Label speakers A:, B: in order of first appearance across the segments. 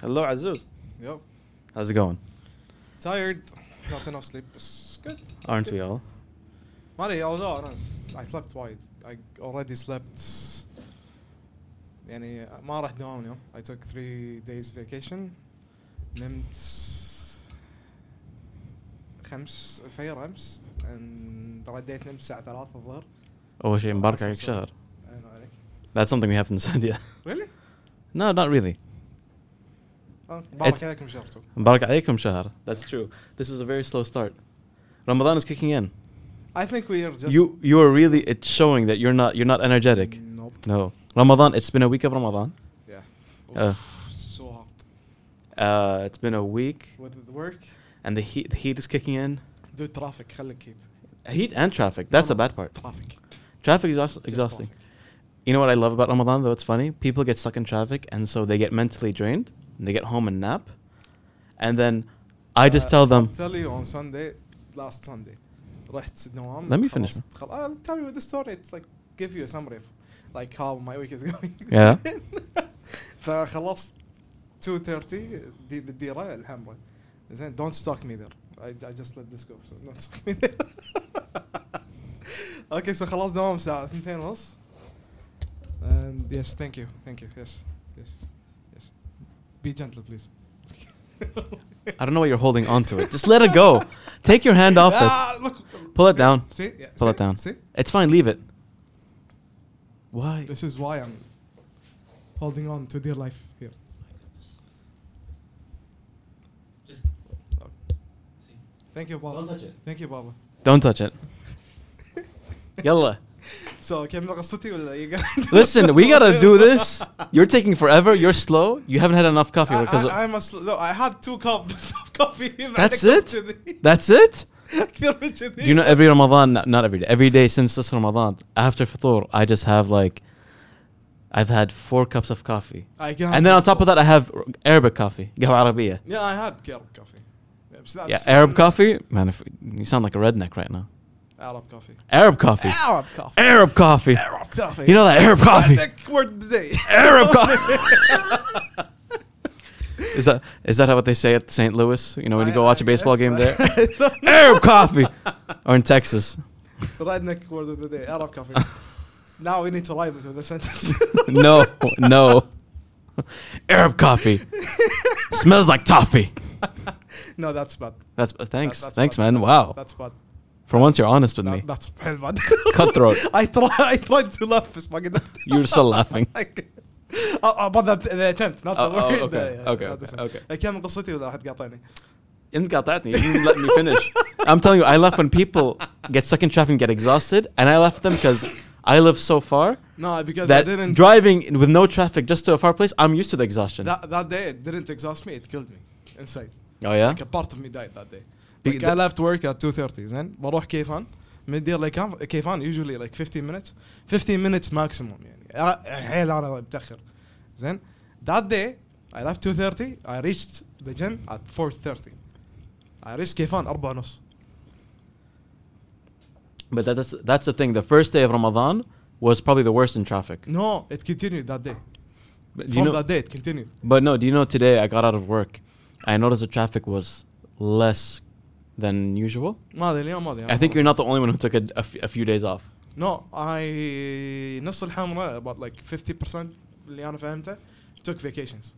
A: Hello, Azuz.
B: Yep.
A: How's it going?
B: Tired. Not enough sleep. It's good.
A: Aren't we all?
B: Money, although أنا s- I slept wide. I already slept. يعني ما رحت دوام اليوم. I took three days vacation. نمت خمس الفجر امس and رديت نمت الساعة 3 الظهر.
A: أول شيء مبارك عليك
B: Awesome, Oh, so-
A: شهر.
B: أنا عليك.
A: That's something we haven't said yet.
B: Really?
A: No, not really.
B: Oh,
A: It's-
B: مبارك عليكم شهرتو.
A: مبارك عليكم شهر. That's true. This is a very slow start. Ramadan is kicking in.
B: I think we are just
A: you you are really it's showing that you're not you're not energetic.
B: Nope.
A: No. Ramadan, it's been a week of Ramadan.
B: Yeah.
A: Uh.
B: Oof, so hot.
A: Uh, it's been a week
B: With the work,
A: and the heat the heat is kicking in.
B: do traffic خليك هيد.
A: Heat and traffic. That's the
B: No, no,
A: bad part.
B: Traffic.
A: Traffic is also
B: Just
A: exhausting.
B: traffic.
A: You know what I love about Ramadan though? It's funny. People get stuck in traffic and so they get mentally drained and they get home and nap. And then I just
B: Uh,
A: tell them
B: tell you on Sunday, last Sunday, رحت دوام.
A: Let me finish.
B: خلصت- خل- I'll tell you the story. It's like give you a summary of like how my week is going.
A: Yeah.
B: فخلصت 2:30 دي بالديرة الحمراء. زين don't stalk me there. I, I just let this go so don't stalk me there. اوكي سو خلاص دوام الساعة 2:30 ونص. And yes, thank you, thank you, yes, yes, yes. Be gentle, please.
A: I don't know why you're holding on to it. Just let it go. Take your hand off it.
B: Ah, look.
A: Pull it
B: See?
A: down.
B: See? Yeah,
A: Pull
B: see?
A: it down.
B: See?
A: It's fine, leave it. Why?
B: This is why I'm holding on to dear life here.
C: Just see.
B: Thank you, Baba.
C: Don't touch it.
B: Thank you, Baba.
A: Don't touch it. Yalla.
B: So, كمل قصتي ولا you
A: Listen, we gotta do this. You're taking forever. You're slow. You haven't had enough coffee
B: I,
A: because
B: I, I must no. I had two cups of coffee. بعد
A: That's
B: كوب
A: it?
B: جدي.
A: that's it.
B: كثير من جدي.
A: Do you know every Ramadan? Not, not every day. Every day since this Ramadan, after Fitr, I just have like, I've had four cups of coffee,
B: I can
A: and then on top of that, I have Arabic coffee, قهوة عربية.
B: Yeah, I had Arab coffee. Yeah, but
A: Yeah,
B: that's-
A: Arab coffee. Man, if, you sound like a redneck right now.
B: Arab coffee.
A: Arab coffee.
B: Arab coffee.
A: Arab coffee.
B: Arab coffee.
A: You know that Arab coffee.
B: Redneck word of the day.
A: Arab coffee. Is that is that how what they say at St. Louis? You know, when you
B: I-
A: go watch a
B: I
A: baseball game there,
B: guess. I don't know.
A: Arab coffee, or in Texas,
B: Redneck word of the day. Arab coffee. now we need to rhyme it with a sentence.
A: no, no, Arab coffee smells like toffee.
B: no, that's bad.
A: That's uh, thanks,
B: That- that's
A: thanks,
B: bad.
A: man.
B: That's-
A: Wow,
B: That's bad.
A: for once you're honest with
B: That-
A: me.
B: That's hell bad.
A: Cutthroat.
B: I try. I tried to laugh, بس ما قدرت.
A: You're still laughing.
B: Like- Uh, uh, but the, the attempt, not the
A: Oh, oh,
B: word.
A: okay,
B: Yeah, yeah,
A: okay,
B: not the same.
A: okay,
B: Uh, كم قصتي ولا احد قاطعني؟
A: انت قاطعتني. You didn't let me finish. I'm telling you, I laugh when people get stuck in traffic and get exhausted, and I laugh at them because I live so far.
B: No, because I
A: that
B: didn't.
A: driving with no traffic just to a far place, I'm used to the exhaustion.
B: that, that day, it didn't exhaust me. It killed me inside.
A: oh yeah.
B: Like a part of me died that day.
A: Be-
B: Like I
A: th-
B: left work at 2:30. زين بروح كيفان من دير لكام كيفان usually like 15 minutes 15 minutes maximum يعني آه، يعني حيل انا متاخر زين that day I left 2:30 I reached the gym at 4:30 I reached كيفان 4 ونص
A: But that's that's the thing. The first day of Ramadan was probably the worst in traffic.
B: no it continued that day
A: But do you
B: from
A: know,
B: that day it continued
A: but no, do you know today I got out of work, I noticed the traffic was less than usual.
B: ما ادري اليوم ما ادري
A: I think you're not the only one who took a, a f- a few days off.
B: No, I نص الحمراء about like 50% اللي انا فهمته took vacations.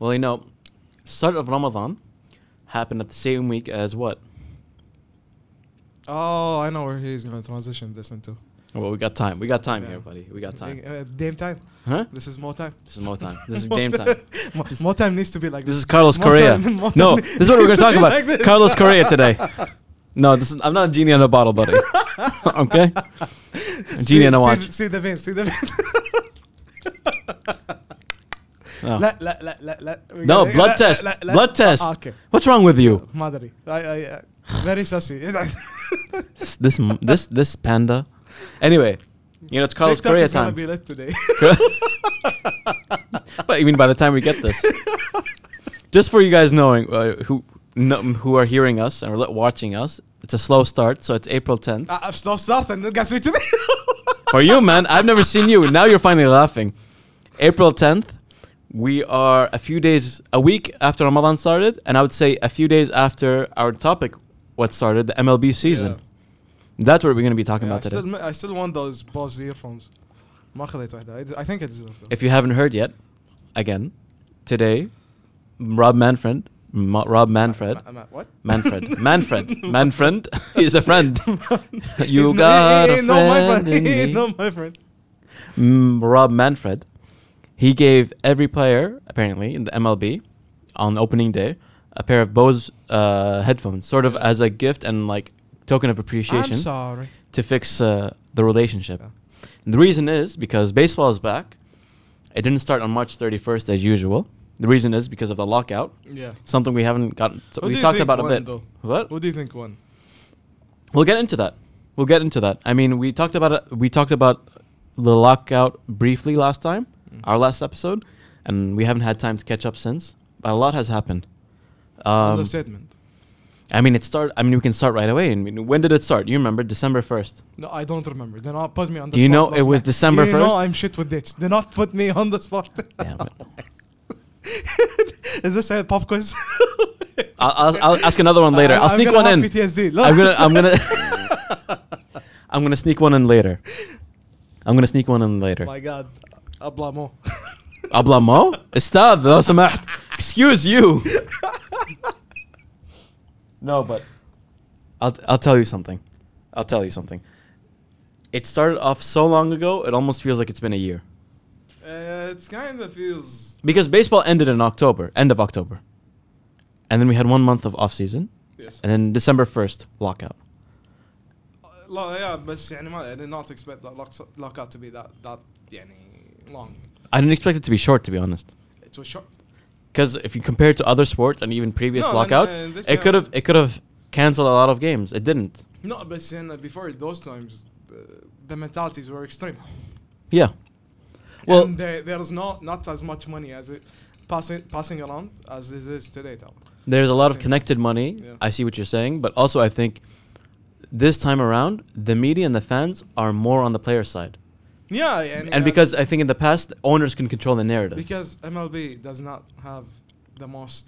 A: Well, you know, start of Ramadan happened at the same week as what?
B: Oh, I know where he's going to transition this into.
A: Well, we got time. We got time
B: Yeah.
A: here, buddy. We got time.
B: Uh, Dame time.
A: Huh?
B: This is more time.
A: This is more time. This is
B: More
A: game
B: time.
A: time.
B: Mo- more time needs to be like
A: This is Carlos
B: More
A: Correa.
B: time- more
A: no,
B: time
A: this is what we're going to talk about.
B: like this.
A: Carlos Correa today. No, this is, I'm not a genie in a bottle, buddy. okay? A genie in a
B: See-
A: watch.
B: See, see the veins, see the veins.
A: No.
B: لا لا لا لا لا We
A: No,
B: gotta-
A: blood
B: لا-
A: test.
B: لا- لا-
A: Blood
B: آه،
A: test.
B: اوكي
A: What's wrong with you?
B: ما ادري I- I- I- very sussy
A: This this m- this, this panda. Anyway, you know it's Carlos
B: TikTok
A: Correa
B: is gonna
A: time.
B: be lit today.
A: but I mean, by the time we get this, just for you guys knowing uh, who no, who are hearing us and are li- watching us, it's a slow start. So it's April 10th
B: I- I've slow started and it gets me today
A: for you, man. I've never seen you. Now you're finally laughing. April 10th, we are a few days, a week after Ramadan started, and I would say a few days after our topic, what started the MLB season. That's what we're going to be talking
B: Yeah, I
A: about today.
B: still ma- I still want those Bose earphones. ما خذيت واحدة. I- I think I deserve them.
A: If you haven't heard yet, again, today, Rob Manfred, Ma- Rob Manfred,
B: Ma- ma- what?
A: Manfred, Manfred, Manfred is a friend. you
B: He's no-
A: got
B: he-
A: a
B: he- he not my
A: friend in
B: He- he
A: me.
B: not my friend.
A: Mm, Rob Manfred, he gave every player apparently in the MLB on opening day a pair of Bose uh, headphones, sort of as a gift and like token of
B: I'm
A: appreciation
B: sorry.
A: to fix uh, the relationship.
B: Yeah.
A: And the reason is because baseball is back. It didn't start on March 31st as usual. The reason is because of the lockout,
B: Yeah.
A: something we haven't gotten. So
B: Who do
A: we
B: you
A: talked
B: think
A: about a
B: won,
A: bit.
B: though?
A: What?
B: What do you think won?
A: We'll get into that. We'll get into that. I mean, we talked about it. We talked about the lockout briefly last time,
B: Mm.
A: our last episode, and we haven't had time to catch up since. But a lot has happened. Um,
B: Understatement.
A: I mean, it start. I mean, we can start right away. I mean, when did it start? You remember December first?
B: No, I don't remember. Do not put me on the
A: Do you
B: spot
A: know
B: last
A: it was
B: night.
A: December
B: You know
A: 1st?
B: I'm shit with dates. Do not put me on the spot.
A: Damn it!
B: Is this a pop quiz?
A: I'll, I'll, I'll ask another one later.
B: I'm-
A: I'll
B: I'm
A: sneak
B: gonna
A: one
B: have
A: in.
B: PTSD. Look.
A: I'm gonna. I'm gonna. I'm gonna sneak one in later. I'm gonna sneak one in later.
B: My God. Ablamo.
A: Ablamo? Estad, لو سمحت. Excuse you. no, but I'll, I'll tell you something. I'll tell you something. It started off so long ago, it almost feels like it's been a year.
B: Uh, it's kind of feels.
A: Because baseball ended in October, end of October. And then we had one month of off season,
B: Yes.
A: and then December 1st, lockout.
B: لا يا بس يعني ما I did not expect that lock, lockout to be that that يعني long.
A: I didn't expect it to be short, to be honest.
B: It was short.
A: Because if you compare it to other sports and even previous
B: No, no, no,
A: lockouts,
B: this
A: it
B: guy-
A: could have it could have canceled a lot of games. It didn't.
B: No, بس يعني uh, before those times the, the mentalities were extreme.
A: Yeah. Well,
B: and there, there is not not as much money as it passing passing around as it is today. Tal.
A: There's a lot of
B: Same.
A: connected money.
B: Yeah.
A: I see what you're saying, but also I think this time around, the media and the fans are more on the player side.
B: Yeah, and, uh,
A: and because I think in the past, owners can control the narrative.
B: because MLB does not have the most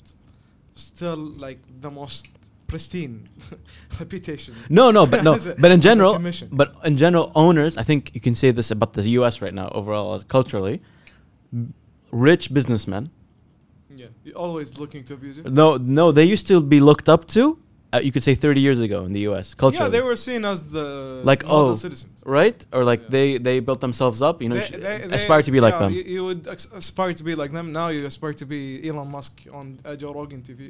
B: still like the most pristine reputation.
A: no, no, but no,
B: As a-
A: but in
B: as a
A: general,
B: commission.
A: but in general, owners. I think you can say this about the U.S. right now overall, as culturally, rich businessmen.
B: yeah, you're always looking to abuse it.
A: No, no, they used to be looked up to. Uh, you could say 30 years ago in the U.S. culturally,
B: Yeah, they were seen as the
A: Like,
B: model
A: oh,
B: citizens.
A: right, or like
B: Yeah.
A: they they built themselves up. You know, you
B: They-
A: should
B: they- they-
A: aspire to be like
B: yeah,
A: them.
B: You, you would ex- aspire to be like them. Now you aspire to be Elon Musk on uh, Joe Rogan TV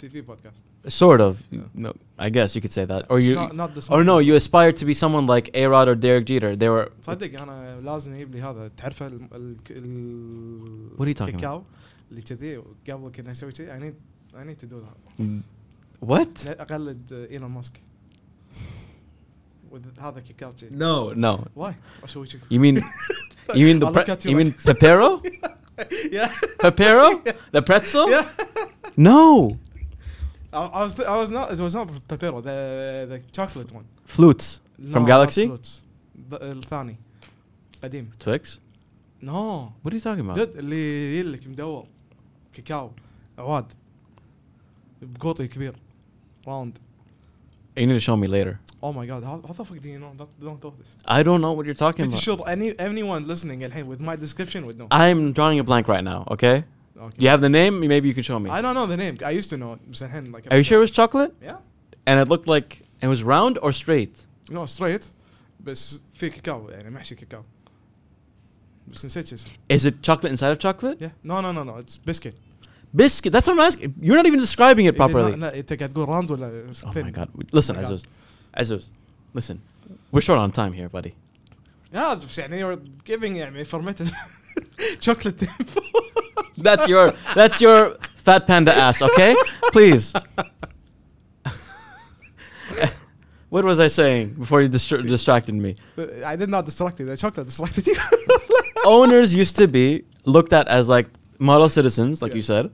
B: TV podcast.
A: Sort of.
B: Yeah.
A: No, I guess you could say that. Or
B: It's
A: you,
B: not, not this
A: or no, you aspire to be someone like A Rod or Derek Jeter. They were.
B: تصدق انا لازم يجيب لي هذا تعرف ال ال ال
A: What are you talking
B: الكاكاو اللي كذي قبل كنا نسوي كذي I need I need to do that
A: Mm. What?
B: اقلد ايلون ماسك with هذا كاكاو كذي
A: No, no.
B: why اسوي كذي
A: You mean, you mean the
B: I'll
A: pre-
B: look at you
A: you mean
B: like this.
A: Pepero?
B: yeah
A: Pepero? The pretzel?
B: yeah
A: No,
B: I, I was I was not it was not Pepero the the chocolate one
A: flutes
B: No,
A: from
B: not
A: Galaxy
B: fruits. th- الثاني قديم
A: Twix.
B: نو
A: What are you talking about?
B: دود اللي يلك مدور كاكاو عواد بقوطي كبير راوند
A: You need to show me later.
B: Oh my god, how, how the fuck do you know that don't know this?
A: I don't know what you're talking
B: Pretty
A: about. Ah,
B: sure any anyone listening الحين with my description would know.
A: I'm drawing a blank right now. Okay.
B: okay.
A: You have the name. Maybe you can show me.
B: I don't know the name. I used to know it. بس الحين like
A: Are you sure it was chocolate?
B: Yeah.
A: And it looked like it was round or straight.
B: No straight بس في كاكاو يعني محشي كاكاو. بس نسيت شو اسمه.
A: Is it chocolate inside of chocolate?
B: Yeah. No no no no it's biscuit.
A: Biscuit. That's what I'm asking. You're not even describing it properly.
B: لا لا، انت قاعد تقول راوند ولا
A: Oh my
B: uh, thin؟
A: god. Listen,
B: my God.
A: Azuz. Azuz, listen. We're short on time here, buddy.
B: Yeah, بس يعني you're giving يعني informative chocolate info.
A: That's your that's your fat panda ass, okay? Please. what was I saying before you distra- distracted me?
B: I did not distract you. The chocolate distracted you.
A: Owners used to be looked at as like model citizens, like
B: Yeah.
A: you said.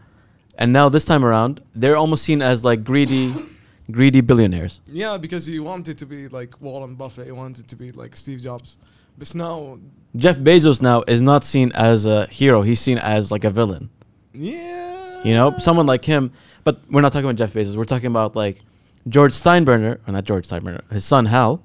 A: And now this time around, they're almost seen as like greedy greedy billionaires.
B: Yeah, because he wanted to be like Warren Buffett. He wanted to be like Steve Jobs. But now,
A: Jeff Bezos now is not seen as a hero. He's seen as like a villain.
B: yeah.
A: You know, someone like him. But we're not talking about Jeff Bezos. We're talking about like George Steinbrenner, or not George Steinbrenner. His son Hal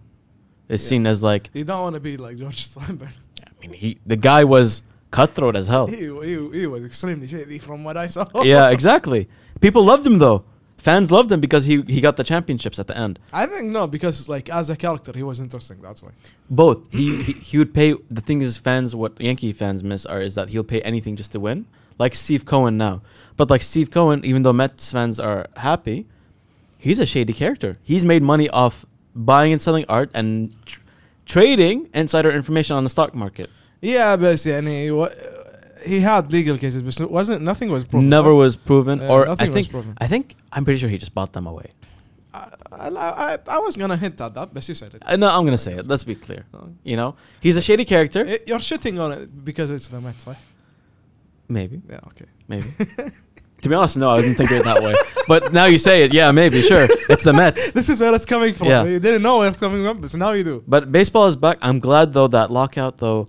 A: is
B: Yeah.
A: seen as like.
B: You don't want to be like George Steinberg.
A: I mean, he the guy was cutthroat as hell.
B: He, he, he was extremely shady from what I saw.
A: yeah, exactly. People loved him though. Fans loved him because he he got the championships at the end.
B: I think no, because like as a character, he was interesting. That's why.
A: Both. He, he he would pay. The thing is, fans what Yankee fans miss are is that he'll pay anything just to win. Like Steve Cohen now, but like Steve Cohen, even though Mets fans are happy, he's a shady character. He's made money off buying and selling art and tr- trading insider information on the stock market.
B: Yeah, but يعني wa- uh, he had legal cases, but wasn't nothing was proven.
A: Never
B: no?
A: was proven,
B: Yeah,
A: or I
B: nothing was
A: think
B: proven.
A: I think I'm pretty sure he just bought them away.
B: I, I, I, I was gonna hint at that, but you said it.
A: I know Uh, I'm gonna say it. Let's be clear. You know, he's a shady character.
B: Eh, You're shitting on it because it's the Mets, right?
A: Maybe,
B: Yeah, okay.
A: maybe. to be honest, no, I didn't think of it that way. But now you say it, yeah, maybe, sure. It's the Mets.
B: This is where it's coming from.
A: Yeah.
B: You didn't know where it's coming from, but now you do.
A: But baseball is back. I'm glad though that lockout though.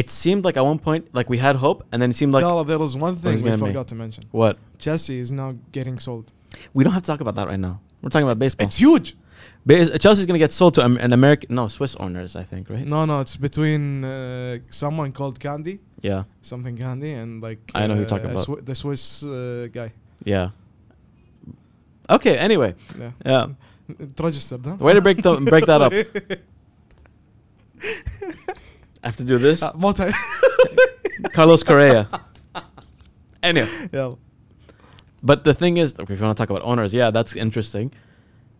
A: It seemed like at one point like we had hope, and then it seemed like
B: Dala, there was one thing
A: Things
B: we
A: gonna be-
B: forgot to mention.
A: what
B: Chelsea is now getting sold.
A: we don't have to talk about that right now. We're talking about baseball.
B: It's huge.
A: Bas- Chelsea's gonna get sold to Am- an American, no Swiss owners, I think, right?
B: No, no, it's between uh, someone called Candy,
A: Yeah,
B: something Candy, and like
A: I know who you're
B: uh,
A: talking
B: a
A: about.
B: Swi- the Swiss uh, guy.
A: yeah. Okay. Anyway,
B: Yeah,
A: yeah.
B: registered. Huh?
A: Way to break the, break that up. I have to do this.
B: Uh, more time.
A: Carlos Correa. anyway,
B: yeah.
A: but the thing is, okay, if you want to talk about owners, yeah, that's interesting.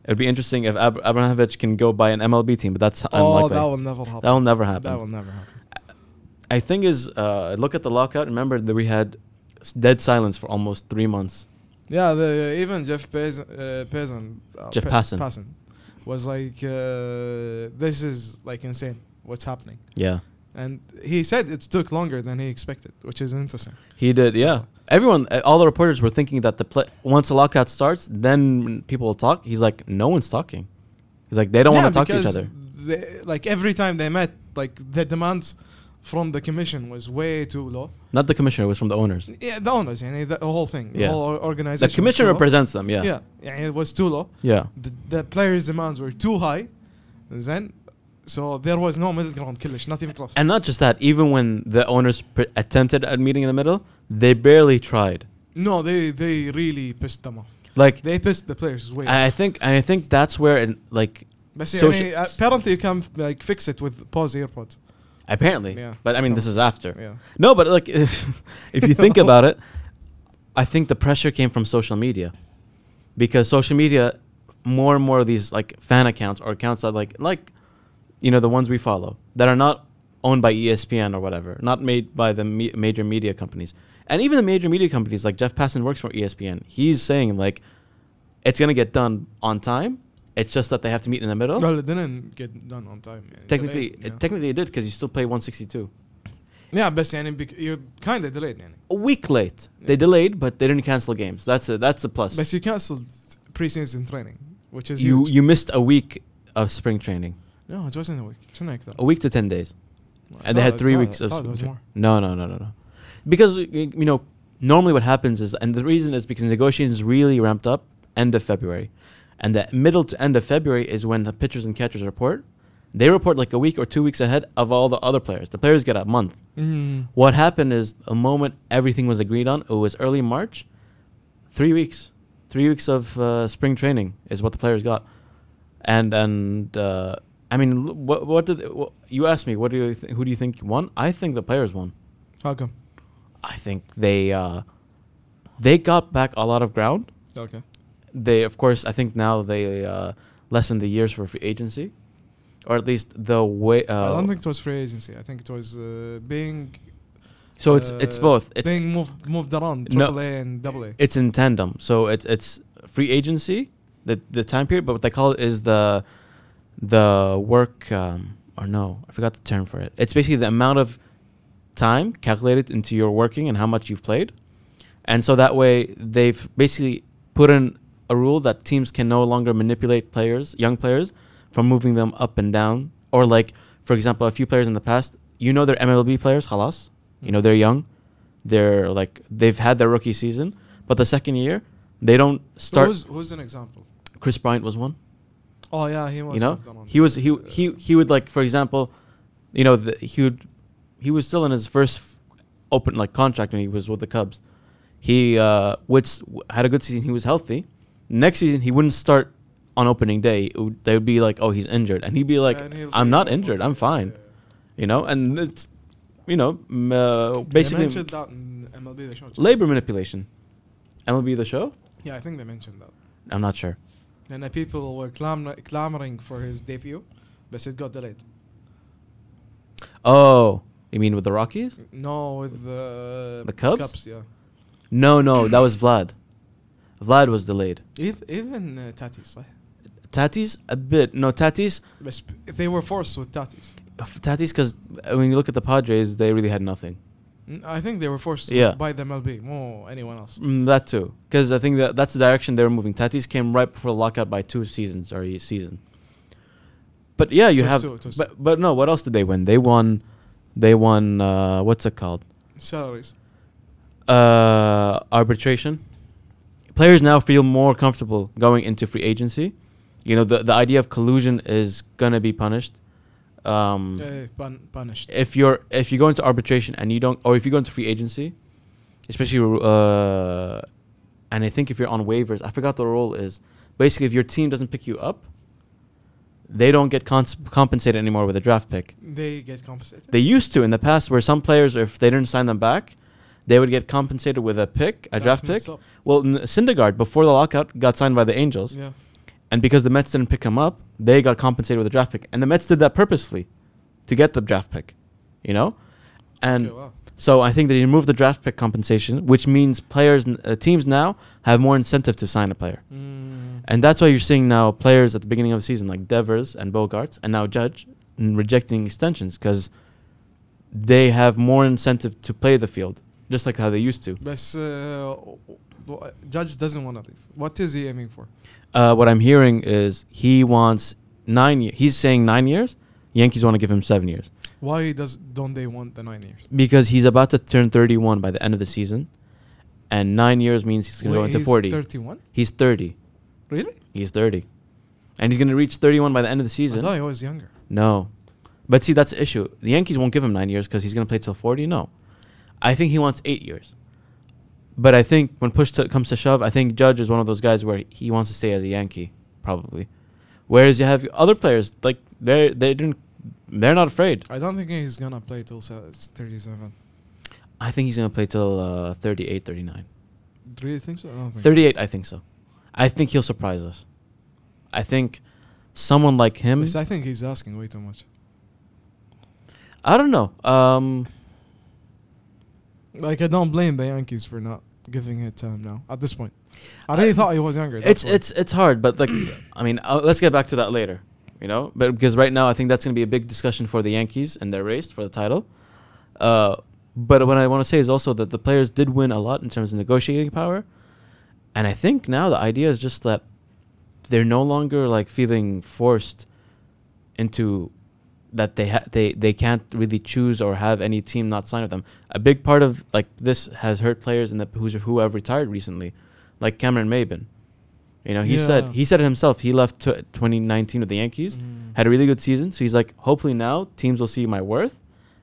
A: It'd be interesting if Ab- Abramovich can go buy an MLB team, but that's
B: Oh,
A: unlikely.
B: that will never happen.
A: That will never happen.
B: That will never happen.
A: I think is uh, look at the lockout. Remember that we had s- dead silence for almost three months.
B: Yeah, the, even Jeff Pez, uh, Pezan, uh,
A: Jeff
B: Pe-
A: Passan.
B: was like, uh, "This is like insane. What's happening?"
A: Yeah,
B: And he said it took longer than he expected, which is interesting.
A: he did. Yeah, everyone, uh, all the reporters were thinking that the play, once the lockout starts, then people will talk. He's like, no one's talking. He's like, they don't
B: Yeah,
A: want to talk to each
B: because
A: other.
B: they- like every time they met, like the demands from the commission was way too low.
A: Not the commissioner. It was from the owners.
B: Yeah, the owners, yani, the whole thing, the
A: Yeah.
B: whole or-
A: The
B: organization. was
A: commissioner
B: too low.
A: represents them. Yeah.
B: Yeah, يعني it was too low.
A: Yeah.
B: the, the players' demands were too high, then so there was no middle ground, killish, not even close.
A: And not just that, even when the owners pr- attempted a meeting in the middle, they barely tried.
B: no, they they really pissed them off.
A: Like
B: They pissed the players way.
A: I I think and I think that's where it, like
B: but
A: so sh-
B: uh, apparently you can like fix it with pause earpods.
A: apparently.
B: Yeah.
A: But I mean
B: No.
A: this is after.
B: Yeah,
A: No, but like if, if you think about it, I think the pressure came from social media. Because social media more and more of these like fan accounts or accounts that like like you know the ones we follow that are not owned by E ESPN or whatever, not made by the me- major media companies. And even the major media companies like Jeff Passan works for E ESPN. He's saying like it's going to get done on time. It's just that they have to meet in the middle.
B: well, it didn't get done on time. يعني.
A: Technically,
B: Delayed, yeah.
A: technically it did because you still play 162.
B: yeah, but يعني bec- you're kind of delayed. يعني.
A: a week late. They
B: Yeah.
A: delayed, but they didn't cancel games. That's a that's a plus.
B: But you canceled pre-season training, which is
A: you
B: huge.
A: you missed a week of spring training,
B: no, it wasn't a week. شنو أكثر؟
A: a week to ten days,
B: I
A: and they
B: thought
A: had
B: it-
A: three
B: I
A: weeks of
B: thought it
A: spring
B: was
A: training.
B: more.
A: No, no, no, no, no, because y- y- you know normally what happens is, and the reason is because negotiations really ramped up end of February, and the middle to end of February is when the pitchers and catchers report. They report like a week or two weeks ahead of all the other players. The players get a month.
B: Mm.
A: What happened is the moment everything was agreed on, it was early March, three weeks, three weeks of uh, spring training is what the players got, and and uh, I mean, l- what what did wha- you asked me? What do you th- who do you think won? I think the players won.
B: How come?
A: I think they uh, they got back a lot of ground.
B: Okay.
A: They of course I think now they uh, lessened the years for free agency, or at least the way. Uh,
B: I don't think it was free agency. I think it was uh, being.
A: so. It's it's
B: uh,
A: both. It's
B: being moved moved around.
A: No.
B: Triple A and Double A.
A: it's in tandem. So it's it's free agency, the the time period, but what they call it is the the work um, or no, I forgot the term for it. It's basically the amount of time calculated into your working and how much you've played, and so that way they've basically put in a rule that teams can no longer manipulate players, young players, from moving them up and down or like for example, a few players in the past, you know they're MLB players, خلاص. You know they're young, they're like they've had their rookie season, but the second year they don't
B: Start.
A: start.
B: Who's, who's an example?
A: Chris Bryant was one.
B: Oh yeah, he was.
A: you know,
B: with Donald.
A: he was he
B: uh,
A: he he would like for example, you know, the, he would he was still in his first f- open like contract when he was with the Cubs. He uh, which had a good season. He was healthy. Next season he wouldn't start on opening day. It would, they would be like, oh, he's injured, and he'd be like,
B: Yeah, and he'll
A: I'm
B: be
A: not
B: like,
A: injured.
B: okay,
A: I'm fine.
B: yeah, yeah.
A: You know, and it's you know m- uh,
B: They
A: basically
B: mentioned that in MLB the show. too.
A: labor manipulation. MLB the show.
B: Yeah, I think they mentioned that.
A: I'm not sure.
B: And uh, people were clamor- clamoring for his debut, but it got delayed.
A: Oh, you mean with the Rockies?
B: No, with the
A: The Cubs?
B: yeah.
A: No, no, that was Vlad. Vlad was delayed.
B: Ev- Even uh, Tatis, صح?
A: Tatis a bit. No, Tatis,
B: But sp- they were forced with Tatis.
A: Tatis, because when you look at the Padres, they really had nothing.
B: Mm, I think they were forced
A: Yeah.
B: by the MLB more anyone else.
A: Mm, that too, because I think that that's the direction they were moving. Tatis came right before the lockout by two seasons or a season. But yeah, you
B: Toast
A: have.
B: to- toast
A: But but no, what else did they win? They won, they won. Uh, what's it called?
B: Salaries.
A: Mm. uh, arbitration. Players now feel more comfortable going into free agency. You know, the, the idea of collusion is gonna be punished. Um,
B: Uh, pun- punished.
A: if you're if you go into arbitration and you don't, or if you go into free agency, especially, uh, and I think if you're on waivers, I forgot the rule is. Basically, if your team doesn't pick you up, they don't get cons- compensated anymore with a draft pick.
B: they get compensated.
A: They used to in the past, where some players, if they didn't sign them back, they would get compensated with a pick, a
B: That's
A: draft pick.
B: messed up.
A: Well, N- Syndergaard before the lockout got signed by the Angels,
B: Yeah.
A: and because the Mets didn't pick him up, they got compensated with a draft pick, and the Mets did that purposely to get the draft pick, you know. And
B: Okay, wow.
A: so I think they removed the draft pick compensation, which means players, n- uh, teams now have more incentive to sign a player,
B: Mm.
A: and that's why you're seeing now players at the beginning of the season like Devers and Bogarts, and now Judge n- rejecting extensions because they have more incentive to play the field, just like how they used to.
B: But uh, judge doesn't want to leave. What is he aiming for?
A: uh, what I'm hearing is he wants nine. Year, he's saying nine years. Yankees want to give him seven years
B: Why does don't they want the nine years?
A: because he's about to turn 31 by the end of the season, and nine years means he's going to go
B: Wait,
A: into
B: he's
A: 40.
B: Thirty-one.
A: He's 30.
B: Really?
A: He's 30, and he's going to reach 31 by the end of the
B: I
A: season.
B: thought he was younger.
A: No, but see that's the issue. The Yankees won't give him nine years because he's going to play till 40. No, I think he wants eight years. But I think when push to, comes to shove, I think Judge is one of those guys where he wants to stay as a Yankee, probably. Whereas you have other players like they they didn't they're not afraid.
B: I don't think he's gonna play till se- thirty-seven.
A: I think he's going to play till uh, 38, 39.
B: Do you think so? I don't think so.
A: 38, I think so. I think he'll surprise us. I think someone like him.
B: Yes, I think he's asking way too much.
A: I don't know. Um,
B: Like I don't blame the Yankees for not giving it time now. At this point, I really
A: I-
B: thought he was younger. that's
A: it's
B: why.
A: it's it's hard, but like, I mean, uh, let's get back to that later, you know. But because right now, I think that's going to be a big discussion for the Yankees and their race for the title. Uh, but what I want to say is also that the players did win a lot in terms of negotiating power, and I think now the idea is just that they're no longer like feeling forced into that they ha- they they can't really choose or have any team not sign with them. A big part of like this has hurt players in the who's who have retired recently, like Cameron Maben. You know, he
B: Yeah.
A: said he said it himself. He left t- 2019 with the Yankees,
B: Mm.
A: had a really good season. So he's like, hopefully now teams will see my worth,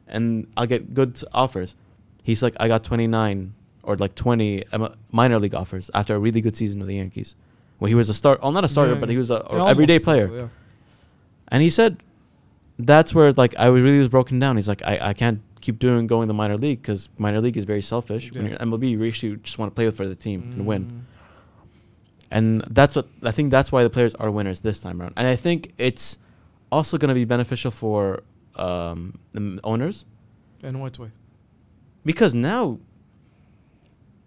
A: and I'll get good s- offers. He's like, I got 29 or like 20 M- minor league offers after a really good season with the Yankees, where he was a start, well not a starter,
B: Yeah,
A: but
B: yeah.
A: he was a
B: Yeah,
A: a everyday
B: almost
A: player.
B: so, yeah.
A: And he said, that's where like I was really was broken down. He's like, I, I can't keep doing going the minor league because minor league is very selfish. When
B: Yeah.
A: you're in MLB, you actually just want to play for the team and win.
B: Mm.
A: And that's what I think. That's why the players are winners this time around. And I think it's also going to be beneficial for um, the m- owners
B: In what way?
A: because now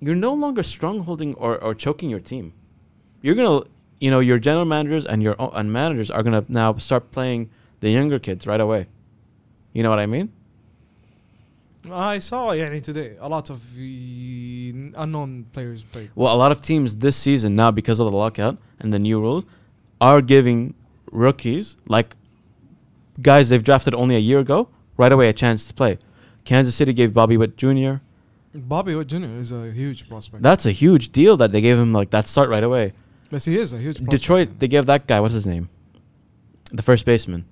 A: you're no longer strongholding or, or choking your team. You're gonna, you know, your general managers and your o- and managers are gonna now start playing the younger kids right away. You know what I mean?
B: I saw يعني today a lot of the unknown players played.
A: Well, a lot of teams this season now because of the lockout and the new rules are giving rookies like guys they've drafted only a year ago right away a chance to play. Kansas City gave Bobby Witt Jr.
B: Bobby Witt Jr. is a huge prospect.
A: That's a huge deal that they gave him like that start right away.
B: yes, he is a huge prospect.
A: Detroit they gave that guy what's his name, the first baseman.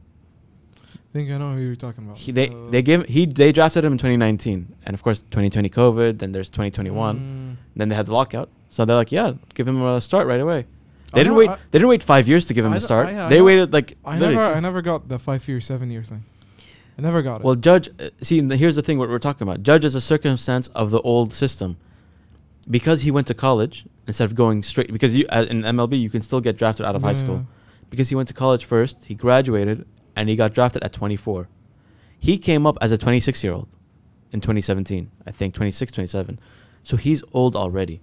B: I think I know who you're talking about. Uh,
A: He, they they gave he they drafted him in 2019 and of course 2020 COVID then there's 2021
B: Mm.
A: then they had the lockout so they're like yeah give him a start right away. They
B: I
A: didn't
B: know-
A: wait.
B: I-
A: they didn't wait five years to give him
B: I
A: a
B: know-
A: start.
B: I- I
A: they
B: know-
A: waited like
B: I
A: literally
B: never
A: two-
B: I never got the five year seven year thing. I never got it.
A: Well, judge. uh, See, and the- here's the thing: what we're talking about. Judge is a circumstance of the old system, because he went to college instead of going straight. Because you uh, in MLB, you can still get drafted out of high school. Because he went to college first, he graduated, and he got drafted at 24. He came up as a 26 year old in 2017, I think 26, 27. So he's old already.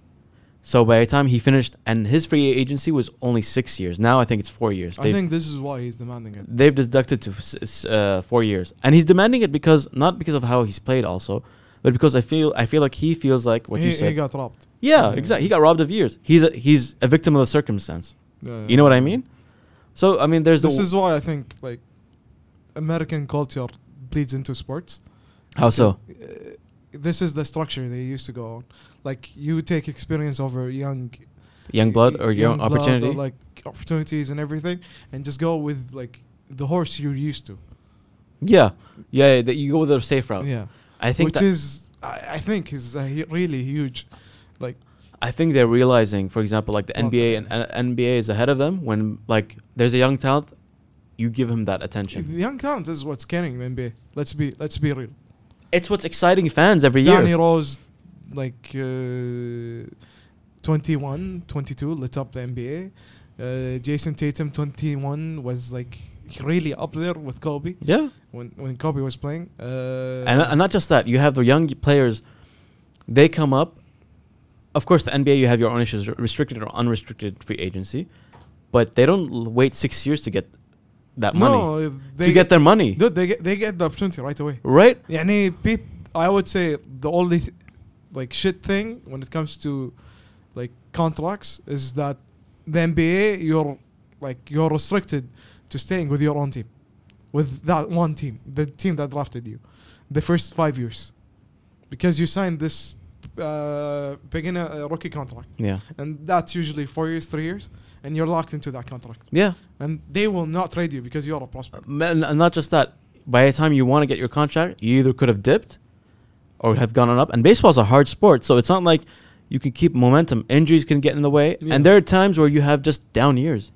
A: So by the time he finished, and his free agency was only six years. Now I think it's four years.
B: I
A: They've-
B: think this is why he's demanding it.
A: they've deducted to s- s- uh, four years, and he's demanding it because not because of how he's played, also, but because I feel I feel like he feels like what
B: he,
A: you
B: he
A: said.
B: got robbed.
A: yeah, exactly. He got robbed of years. He's a, he's a victim of the circumstance.
B: Yeah,
A: You know what I mean? So I mean, there's
B: This
A: the
B: is why I think like American culture bleeds into sports.
A: how so.
B: Uh, this is the structure they used to go on. Like you take experience over young
A: Young blood or young,
B: young blood
A: opportunity.
B: or like opportunities and everything, and just go with like the horse you're used to.
A: yeah, yeah. yeah, That you go with a safe route.
B: Yeah,
A: I think
B: which
A: that,
B: is I, I think is a hu- really huge. Like
A: I think they're realizing, for example, like the
B: Well,
A: NBA and uh, NBA is ahead of them when like there's a young talent, you give him that
B: the
A: attention.
B: young talent is what's scaring the NBA. Let's be let's be real.
A: It's what's exciting fans every year.
B: Danny Rose, like uh, 21, 22, lit up the NBA. Uh, Jason Tatum, 21, was like really up there with Kobe
A: yeah.
B: when, when Kobe was playing. Uh,
A: and, and not just that you have the young players they come up of course the nba you have your own issues r- restricted or unrestricted free agency but they don't l- wait six years to get that money
B: No, they
A: to get their money
B: Dude, they get, they get the opportunity right away.
A: right
B: يعني peop, I would say the only th- like shit thing when it comes to like contracts is that the NBA you're like you're restricted to staying with your own team, with that one team, the team that drafted you, the first five years, because you signed this uh, beginner uh, rookie contract,
A: yeah
B: and that's usually four years, three years, and you're locked into that contract,
A: yeah
B: and they will not trade you because you're a prospect.
A: Um, and, and not just that by the time you want to get your contract you either could have dipped or have gone on up and baseball's a hard sport so it's not like you can keep momentum injuries can get in the way
B: Yeah.
A: and there are times where you have just down years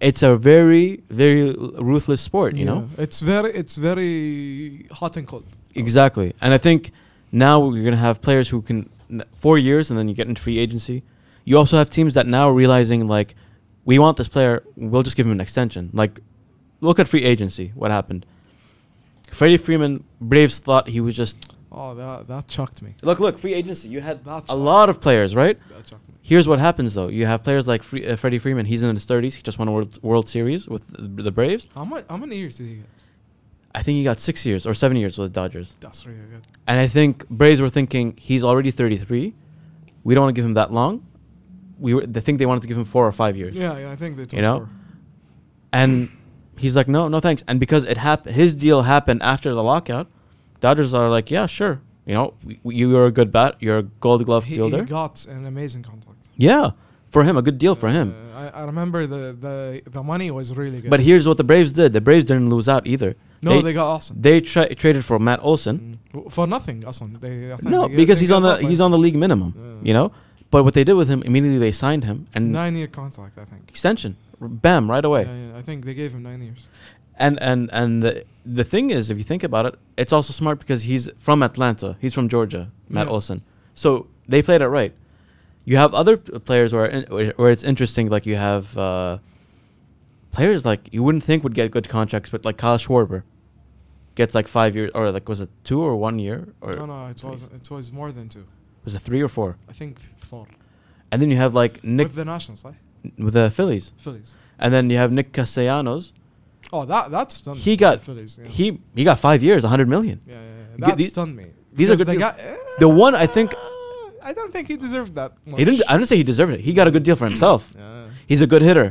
A: it's a very very l- ruthless sport you know
B: Yeah. it's very it's very hot and cold.
A: Exactly. And I think now we're going to have players who can n- four years and then you get into free agency. You also have teams that now are realizing like we want this player, we'll just give him an extension. Like look at free agency, what happened? Freddie Freeman, Braves thought he was just
B: Oh, that that shocked me.
A: Look, look, free agency. You had
B: That's
A: a lot of players, right?
B: That shocked me.
A: Here's what happens though. You have players like Free, uh, Freddie Freeman, he's in his 30s, he just won a World, World Series with the, the Braves.
B: How much? How many years did he get?
A: I think he got 6 years or 7 years with the Dodgers.
B: That's really good.
A: And I think Braves were thinking he's already 33. We don't want to give him that long. We were, they think they wanted to give him four or five years.
B: Yeah, yeah. I think they. took
A: You know?
B: four.
A: And he's like, no, no, thanks. And because it hap- his deal happened after the lockout, Dodgers are like, yeah, sure. You know, we, we- you're a good bat. You're a Gold Glove
B: He,
A: fielder.
B: he got an amazing contract.
A: yeah, for him, a good deal for him.
B: Uh, I, I remember the, the the money was really good.
A: But here's what the Braves did. The Braves didn't lose out either.
B: no, they, got Austin Mm.
A: they tra- traded for Matt Olson.
B: W- for nothing. Austin. They, I think
A: No,
B: they-
A: because
B: they
A: he's
B: gave
A: on the
B: up, like,
A: he's on the league minimum.
B: Yeah.
A: You know, but what they did with him immediately, they signed him and
B: nine year contract. I think.
A: extension, R- bam, right away.
B: Yeah, yeah, I think they gave him nine years.
A: And and and the the thing is, if you think about it, it's also smart because he's from Atlanta. He's from Georgia, Matt
B: Yeah.
A: Olson. So they played it right. You have other p- players where in, where where it's interesting. Like you have uh, players like you wouldn't think would get good contracts, but like Kyle Schwarber gets like five years, or like was it two or one year, or
B: No, no, it was it was more than two.
A: was it three or four?
B: I think four.
A: And then you have like Nick
B: With the Nationals, right?
A: with the Phillies,
B: Phillies.
A: and then you have Nick Castellanos.
B: Oh, that that's done.
A: He got-
B: Phillies. Yeah.
A: He he got five years, a hundred million.
B: Yeah, yeah, yeah.
A: Get
B: That
A: these-
B: stunned me.
A: these are
B: Because
A: good
B: the
A: deals.
B: guy- eh,
A: The one I think-
B: I don't think he deserved that. Much.
A: He didn't. I didn't say he deserved it. He got a good deal for himself.
B: Yeah.
A: He's a good hitter.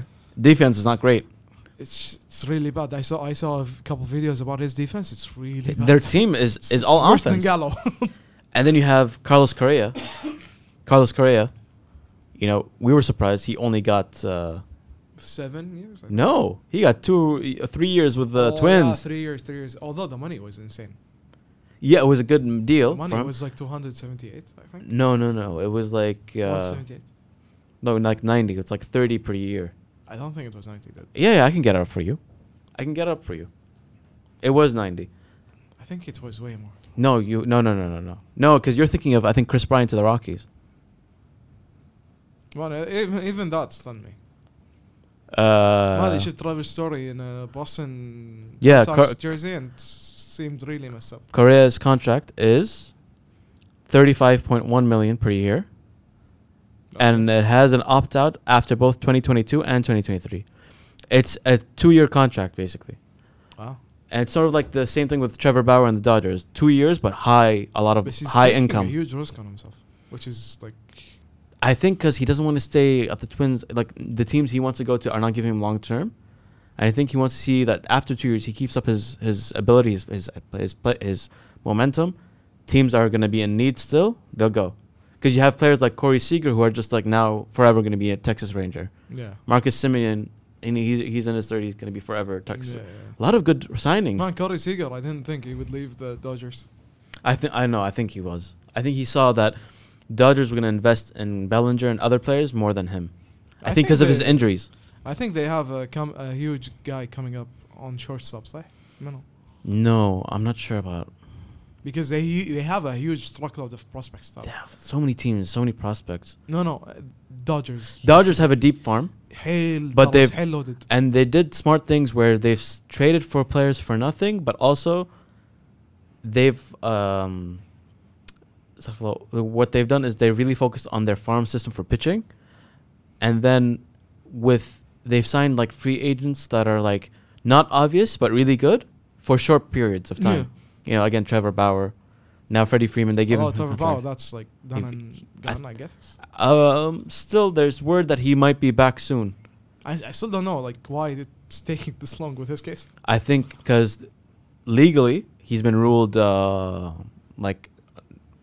A: Defense is not great.
B: it's it's really bad. I saw I saw a couple videos about his defense. It's really bad.
A: Their team is is
B: It's- it's
A: all
B: worse than
A: offense.
B: Gallo.
A: And then you have Carlos Correa. Carlos Correa, you know, we were surprised he only got uh,
B: Seven years. I think.
A: no, he got two, uh, three years with the
B: Oh, yeah,
A: Twins.
B: three years, three years. Although the money was insane.
A: Yeah, it was a good m- deal. for
B: money
A: him.
B: was like 278, I think.
A: no, no, no. It was like uh,
B: 178.
A: no, like ninety. It's like thirty per year.
B: I don't think it was 90. Dude.
A: Yeah, yeah, I can get up for you. I can get up for you. It was ninety.
B: I think it was way more.
A: No, you no no no no no no because you're thinking of I think Chris Bryant to the Rockies.
B: Well, uh, even even that stunned me.
A: Uh,
B: well, they should Travis Story in a Boston
A: Yeah,
B: Red Sox
A: Car-
B: jersey and s- seemed really messed up.
A: Correa's contract is thirty-five point one million per year,
B: uh,
A: and uh, it has an opt-out after both 2022 and 2023. It's a two-year contract basically,
B: wow.
A: and it's sort of like the same thing with Trevor Bauer and the Dodgers. Two years, but high a lot of
B: But he's
A: high
B: taking
A: income.
B: A huge risk on himself, which is like
A: I think because he doesn't want to stay at the Twins, like the teams he wants to go to are not giving him long term, and I think he wants to see that after two years he keeps up his his abilities, his his play, his momentum. Teams are going to be in need still; they'll go because you have players like Corey Seager who are just like now forever going to be a Texas Ranger.
B: yeah.
A: Marcus Simeon, and he's he's in his thirties, going to be forever a Texas.
B: Yeah, yeah.
A: A lot of good signings.
B: Man, Corey Seager, I didn't think he would leave the Dodgers.
A: I think I know. I think he was. I think he saw that Dodgers were going to invest in Bellinger and other players more than him. I,
B: I
A: think
B: think
A: because of his
B: they-
A: injuries.
B: I think they have a, com- a huge guy coming up on shortstops, eh? No,
A: No, I'm not sure about.
B: because they hu- they have a huge truckload of prospects. Though.
A: They have so many teams, so many prospects.
B: No, no, uh, Dodgers.
A: Dodgers have a deep farm,
B: Hail,
A: but
B: Dodgers,
A: they've-
B: hail loaded.
A: and they did smart things where they've s- traded for players for nothing, but also they've um, Astaghfirullah, what they've done is they really focused on their farm system for pitching, and then with they've signed like free agents that are like not obvious but really good for short periods of time. You know, again, Trevor Bauer, now Freddie Freeman. They give
B: oh,
A: him
B: Trevor
A: contract.
B: Bauer, that's like done
A: If-
B: and
A: I
B: gone, I, guess.
A: Um, still, there's word that he might be back soon.
B: I, I still don't know like why it's taking this long with his case.
A: I think because legally he's been ruled uh, like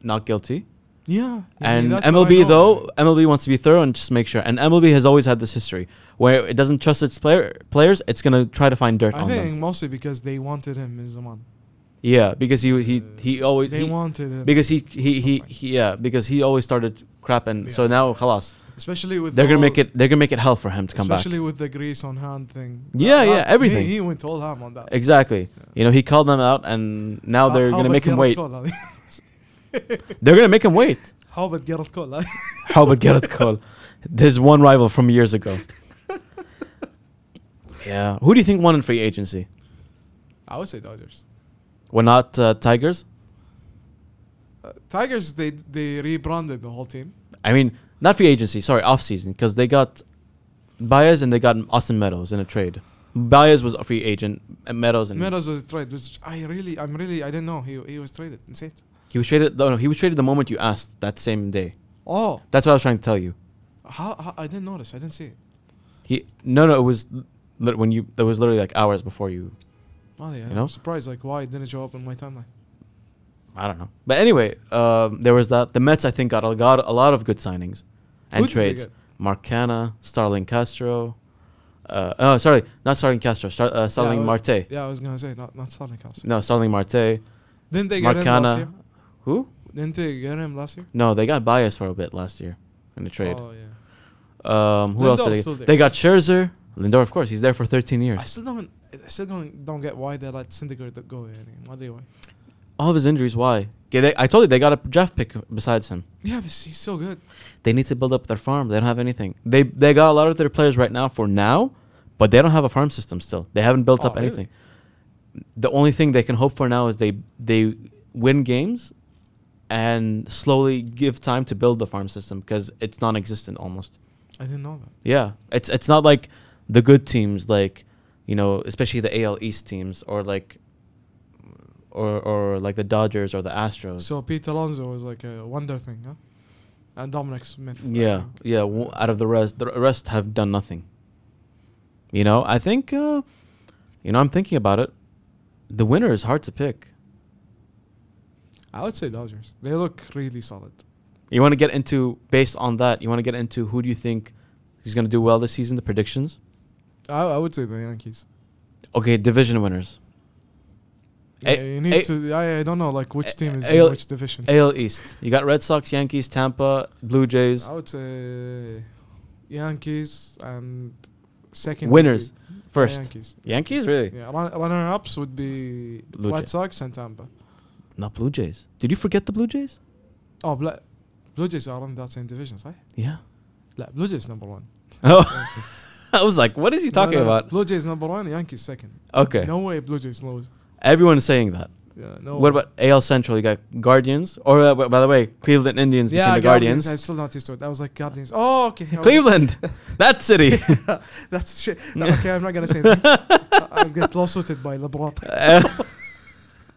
A: not guilty.
B: Yeah,
A: and MLB though, MLB wants to be thorough and just make sure. And MLB has always had this history where it doesn't trust its player players. It's gonna try to find dirt
B: I
A: on
B: think
A: them.
B: mostly because they wanted him in Zaman. Uh,
A: Yeah, because he he he always
B: they
A: he-
B: wanted him
A: because he he, he
B: Something.
A: he yeah because he always started crap and so
B: Yeah.
A: now halas
B: especially with
A: they're
B: the
A: gonna
B: whole-
A: make it they're gonna make it hell for him to come back.
B: especially with the grease on hand thing.
A: Yeah, yeah,
B: he-
A: everything.
B: He, went all ham on that.
A: Exactly. You know he called them out and now
B: How-
A: they're
B: how
A: gonna
B: about
A: make him
B: Gerrit
A: wait.
B: Cole, Ali?
A: They're gonna make him wait.
B: How about Gerrit Cole? Ali?
A: How about Gareth Cole? There's one rival from years ago. yeah. Who do you think won in free agency?
B: I would say Dodgers.
A: Well, not uh, Tigers.
B: Uh, Tigers, they they rebranded the whole team.
A: I mean, not free agency. Sorry, off season because they got Baez and they got Austin Meadows in a trade. Baez was a free agent. And Meadows and
B: Meadows was traded, which I really, I'm really, I didn't know he he was traded. Insane.
A: he was traded. No, no, he was traded the moment you asked that same day.
B: Oh,
A: That's what I was trying to tell you.
B: how, how I didn't notice. I didn't see it.
A: He no no it was lit- when you that was literally like hours before you.
B: Well, yeah,
A: You know?
B: I'm surprised. Like, why it didn't show up in my timeline?
A: I don't know. But anyway, um, there was that. The Mets I think got a, got a lot of good signings and
B: Who did they
A: trades.
B: get?
A: Marcana, Starling Castro. Uh, oh, sorry, not Starling Castro. Star, uh, Starling
B: Yeah, I-
A: Marte.
B: Yeah, I was gonna say not not Stanley Castle.
A: No, Starling Marte.
B: Didn't they get him last year?
A: Marcana. Who?
B: Didn't they get him last year?
A: No, they got Bias for a bit last year in the trade.
B: Oh yeah.
A: Um, who
B: Lindor's
A: else
B: still
A: did they?
B: there.
A: They got Scherzer. Lindor, of course, he's there for 13
B: I
A: years.
B: still don't. I still don't, don't get why they let Syndergaard go. يعني. ما أدري why.
A: All of his injuries. Why? Okay, they, I told you they got a draft pick besides him.
B: Yeah, but he's so good.
A: They need to build up their farm. They don't have anything. They they got a lot of their players right now for now, but they don't have a farm system still. They haven't built
B: Oh,
A: up
B: really?
A: anything. The only thing they can hope for now is they they win games and slowly give time to build the farm system because it's non-existent almost.
B: I didn't know that.
A: Yeah, it's it's not like the good teams like you know, especially the AL East teams or like or or like the Dodgers or the Astros.
B: So Pete Alonso was like a wonder thing, huh? And Dominic Smith. I
A: yeah,
B: think.
A: yeah, w- out of the rest, the rest have done nothing. You know, I think, uh, you know, I'm thinking about it. The winner is hard to pick.
B: I would say Dodgers. They look really solid.
A: You want to get into based on that. You want to get into who do you think is going to do well this season? The predictions.
B: I, I would say the Yankees.
A: Okay, division winners.
B: Yeah,
A: A-
B: you need
A: A-
B: to. I, I don't know like which
A: A-
B: team is
A: AL
B: in which division.
A: AL East. You got Red Sox, Yankees, Tampa, Blue Jays.
B: I would say Yankees and second would
A: Winners
B: be
A: first.
B: Yankees.
A: Yankees really?
B: Yeah, runner ups would be
A: Blue
B: White
A: Jay-
B: Sox and Tampa.
A: Not Blue Jays. Did you forget the Blue Jays?
B: Oh, Bla- Blue Jays are in that same division, صح؟
A: Yeah.
B: لا Blue Jays number one.
A: Oh, I was like, what is he
B: No,
A: talking
B: no, no.
A: about?
B: Blue Jays number one, Yankees second.
A: Okay.
B: No way Blue Jays lose.
A: Everyone's saying that.
B: Yeah, no
A: What
B: way.
A: about AL Central? You got Guardians, or uh, w- by the way, Cleveland Indians
B: yeah,
A: became the
B: Guardians.
A: Guardians.
B: I'm still not used to it. I was like Guardians. Oh, okay. I was-
A: Cleveland, that city.
B: That's shit. No, okay, I'm not gonna say that. I- I'll get lawsuited by LeBron.
A: Uh,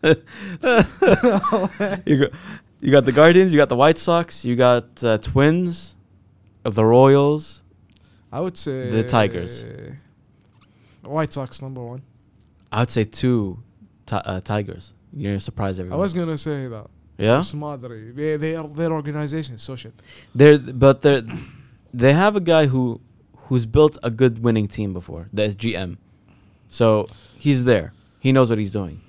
A: you, go, you got the Guardians, you got the White Sox, you got uh, Twins of the Royals.
B: I would say
A: The Tigers.
B: White Sox number one.
A: I would say two ti- uh, Tigers. You're gonna surprise
B: I
A: everyone.
B: was gonna say that.
A: yeah,
B: Smadri. They, they are their organization is so shit.
A: they're but they're they have a guy who who's built a good winning team before. That's GM, so he's there. He knows what he's doing.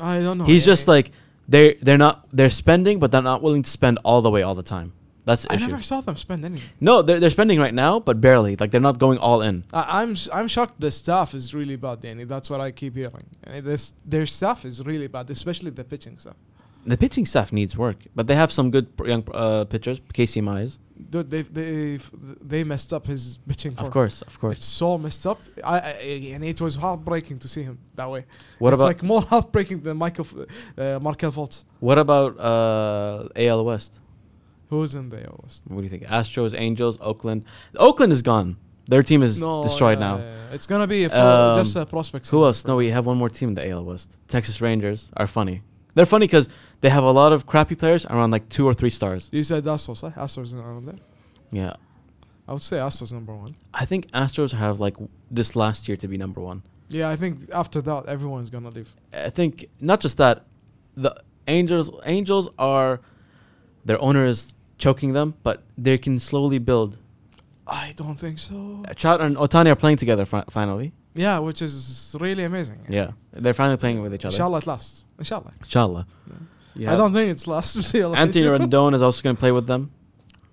B: I don't know.
A: He's
B: Yeah,
A: just like they're they're not they're spending, but they're not willing to spend all the way all the time. That's the
B: I
A: issue.
B: never saw them spend anything.
A: No, they're they're spending right now, but barely. Like they're not going all in.
B: I, I'm s- I'm shocked. The staff is really bad, Danny. That's what I keep hearing. And this their staff is really bad, especially the pitching staff.
A: The pitching staff needs work, but they have some good pr- young uh, pitchers. Casey Mize,
B: Dude, they they they messed up his pitching.
A: of
B: form.
A: course, of
B: It's
A: course.
B: so messed up. I, I and it was heartbreaking to see him that way.
A: What
B: it's
A: about
B: like more heartbreaking than Michael F- uh, Markel Fultz,
A: what about uh, AL West?
B: who's in the West.
A: What do you think? Astros, Angels, Oakland. Oakland is gone. Their team is destroyed
B: yeah,
A: now.
B: yeah, yeah. It's gonna be a full,
A: Um,
B: just a prospect.
A: Who else? No, we have one more team in the AL West. Texas Rangers are funny. They're funny because they have a lot of crappy players around like two or three stars.
B: You said Astros, right? Astros in around there.
A: Yeah,
B: I would say Astros number one.
A: I think Astros have like w- this last year to be number one.
B: Yeah, I think after that everyone's gonna leave.
A: I think not just that, the Angels Angels are their owner is choking them, but they can slowly build.
B: I don't think so.
A: Trout and Otani are playing together fi- finally.
B: Yeah, which is really amazing.
A: Yeah, they're finally playing with each other.
B: Inshallah it lasts. Inshallah.
A: Inshallah. Yeah.
B: I don't think it's last. Inshallah.
A: Anthony Rendon is also going to play with them.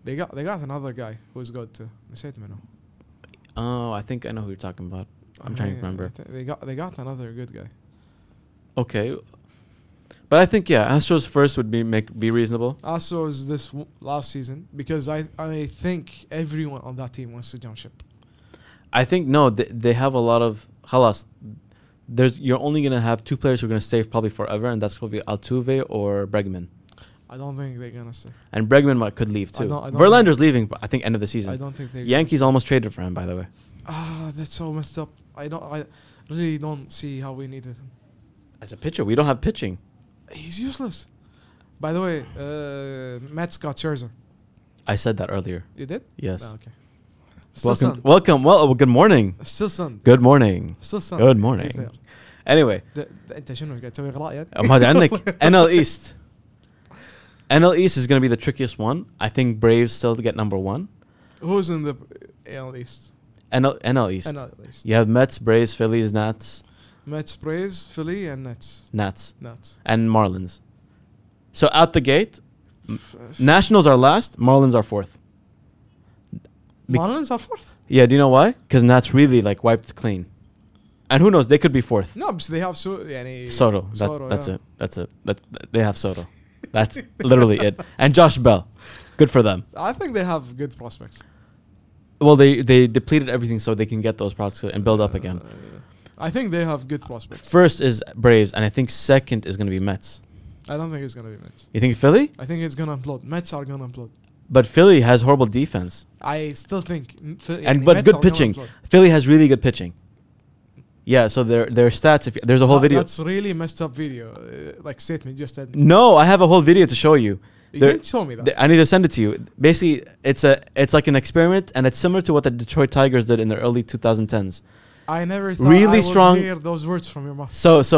B: They got they got another guy who's good too. نسيت منه.
A: Oh, I think I know who you're talking about. I'm trying to
B: Yeah,
A: remember.
B: th- They got they got another good guy.
A: Okay, but I think yeah, Astros first would be make be reasonable.
B: Also, is this w- last season because I I think everyone on that team wants to jump ship.
A: I think no, they, they have a lot of halas. There's you're only gonna have two players who are gonna stay probably forever, and that's gonna be Altuve or Bregman.
B: I don't think they're gonna stay.
A: And Bregman might, could leave
B: I
A: too.
B: don't- I don't
A: Verlander's leaving, but I think end of the
B: I
A: season.
B: don't think they're.
A: Yankees almost traded for him, by the way.
B: Ah, that's so messed up. I don't. I really don't see how we needed him.
A: As a pitcher, we don't have pitching.
B: He's useless. By the way, uh, Mets got Scherzer.
A: I said that earlier.
B: You did?
A: Yes.
B: Ah, okay. Still
A: welcome,
B: sun.
A: welcome. Well, well, good morning.
B: Still sun.
A: Good morning.
B: Still sun.
A: Good morning.
B: He's there.
A: Anyway,
B: د- د- انت شنو قاعد تسوي اغراء يعني؟
A: ما أدري عنك. NL East. NL East is gonna be the trickiest one. I think Braves still get number one.
B: Who's in the AL East?
A: NL NL East.
B: NL East.
A: You have Mets, Braves, Phillies, Nats,
B: Mets, Braves, Philly, and Nets.
A: Nats,
B: Nets.
A: and Marlins. So out the gate,
B: F-
A: Nationals are last, Marlins are fourth. Be-
B: Marlins are fourth.
A: Yeah, do you know why? Because Nats really like wiped clean, and who knows? They could be fourth.
B: No, because they have so يعني
A: Soto. That, that's
B: yeah.
A: it. That's it. That that- they have Soto. That's literally it. And Josh Bell. Good for them.
B: I think they have good prospects.
A: Well, they they depleted everything so they can get those products and build up again.
B: Uh, I think they have good prospects.
A: First is Braves, and I think second is going to be Mets.
B: I don't think it's gonna be Mets.
A: You think Philly?
B: I think it's gonna implode. Mets are gonna implode.
A: But Philly has horrible defense.
B: I still think. m- Phil-
A: And
B: يعني
A: but
B: Mets
A: good
B: are gonna
A: pitching.
B: implode.
A: Philly has really good pitching. Yeah, so their their stats. If you, there's a whole
B: That-
A: video.
B: That's really messed up video. Uh, like statement just said.
A: No, I have a whole video to show you.
B: You
A: There-
B: didn't show me that.
A: Th- I need to send it to you. Basically, it's a it's like an experiment, and it's similar to what the Detroit Tigers did in the early 2010s.
B: I never thought
A: Really
B: I would
A: strong-
B: hear those words from your mouth.
A: So so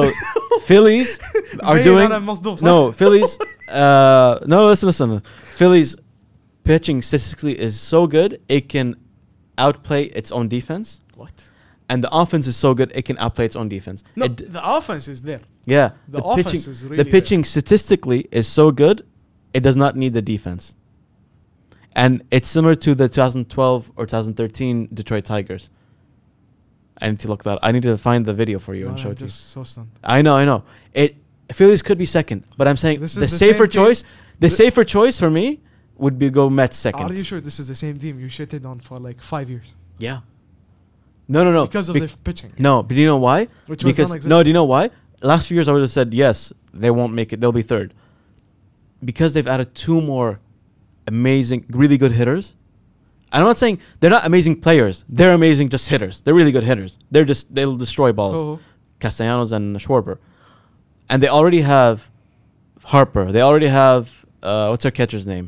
A: Phillies are
B: Hey,
A: doing
B: أنا مصدوم، صح؟
A: no Phillies. Uh, no, listen, listen. Phillies pitching statistically is so good it can outplay its own defense,
B: What?
A: and the offense is so good it can outplay its own defense.
B: No,
A: It-
B: the offense is there.
A: yeah,
B: The, offense
A: pitching,
B: is really
A: the pitching statistically is so good it does not need the defense. And it's similar to the 2012 or 2013 Detroit Tigers. I need to look that. I need to find the video for
B: there.
A: you
B: No,
A: and
B: no,
A: show
B: I'm
A: it to you.
B: just so stunned.
A: I know, I know. It Phillies could be second, but I'm saying the,
B: This is the same
A: safer
B: thing-
A: choice. The
B: Th-
A: safer choice for me would be go Mets second.
B: Are you sure this is the same team you shitted on for like five years
A: Yeah. No, no, no.
B: because of
A: Bec-
B: the pitching?
A: no, but do you know why?
B: Which was
A: because no,
B: non-existent.
A: do you know why? Last few years I would have said yes, they won't make it. They'll be third. Because they've added two more amazing, really good hitters. I'm not saying they're not amazing players. They're amazing just hitters. They're really good hitters. They're just they'll destroy balls.
B: Oh,
A: Castellanos and Schwarber, and they already have Harper. They already have uh, what's their catcher's name?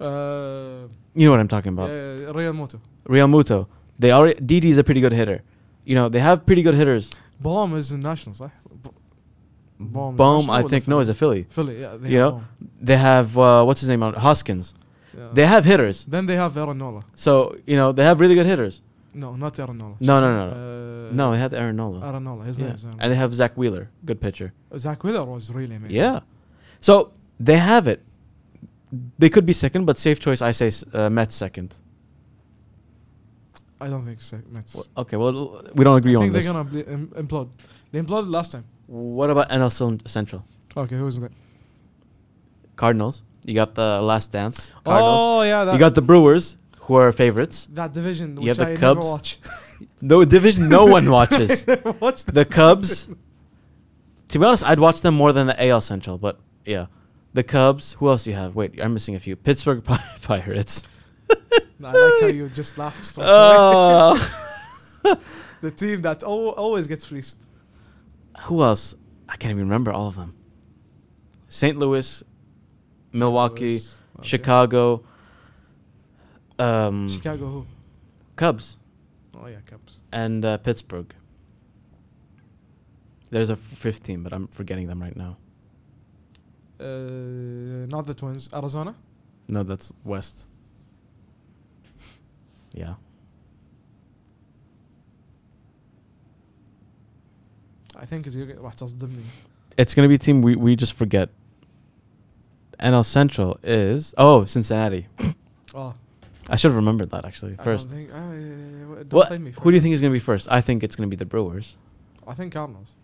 B: uh,
A: You know what I'm talking about.
B: uh, Real Moto.
A: Real Muto. They already Didi's a pretty good hitter. You know they have pretty good hitters.
B: Baum is in Nationals, right? B- Baum. is
A: Bohm,
B: national
A: I
B: or
A: think,
B: Philly?
A: no, is a Philly.
B: Philly, yeah. They
A: You
B: have Oh.
A: know, they have uh, what's his name on Hoskins.
B: Baum. Yeah.
A: They have hitters.
B: Then they have Aaron Nola.
A: So you know they have really good hitters.
B: No, not Aaron Nola.
A: No,
B: Shit.
A: no, no,
B: Uh,
A: No, they have Aaron Nola.
B: Aaron Nola. His
A: Yeah.
B: name is Aaron
A: And they have Zach Wheeler, good pitcher.
B: Nola. Zach Wheeler was really amazing.
A: Yeah. So they have it. They could be second, but safe choice. I say s- uh, Mets second.
B: I don't think so. Mets.
A: Well, okay, well, l- we don't
B: I
A: agree on
B: think they're
A: this.
B: gonna impl- im- implode. They imploded last time.
A: What about NL Cen- Central?
B: Okay, who is that?
A: Cardinals. You got the Last Dance. Cardinals.
B: Oh yeah, that,
A: you got the Brewers, who are favorites.
B: that division.
A: you
B: which
A: have the
B: I never
A: Cubs.
B: Watch.
A: No division, no one watches.
B: What's the
A: The Cubs. To be honest, I'd watch them more than the AL Central, but yeah, the Cubs. Who else do you have? Wait, I'm missing a few. Pittsburgh Pi- Pirates.
B: I like how you just laughed. So
A: Uh,
B: hard.
A: Oh.
B: the team that al- always gets fleeced.
A: who else? I can't even remember all of them. St. Louis,
B: St.
A: Milwaukee,
B: Louis, okay.
A: Chicago, um,
B: Chicago. Who?
A: Cubs,
B: Oh yeah, Cubs.
A: and uh, Pittsburgh. There's a f- fifth team, but I'm forgetting them right now.
B: Uh, not the Twins. Arizona.
A: No, that's West. Yeah.
B: I think it's راح تصدمني.
A: It's going to be a team we, we just forget. NL Central is. Oh, Cincinnati.
B: Oh,
A: I should have remembered that, actually,
B: I
A: first.
B: don't think. Uh, don't
A: What,
B: blame me for
A: who do you
B: it.
A: think is going to be first? I think it's going to be the Brewers.
B: I think Cardinals.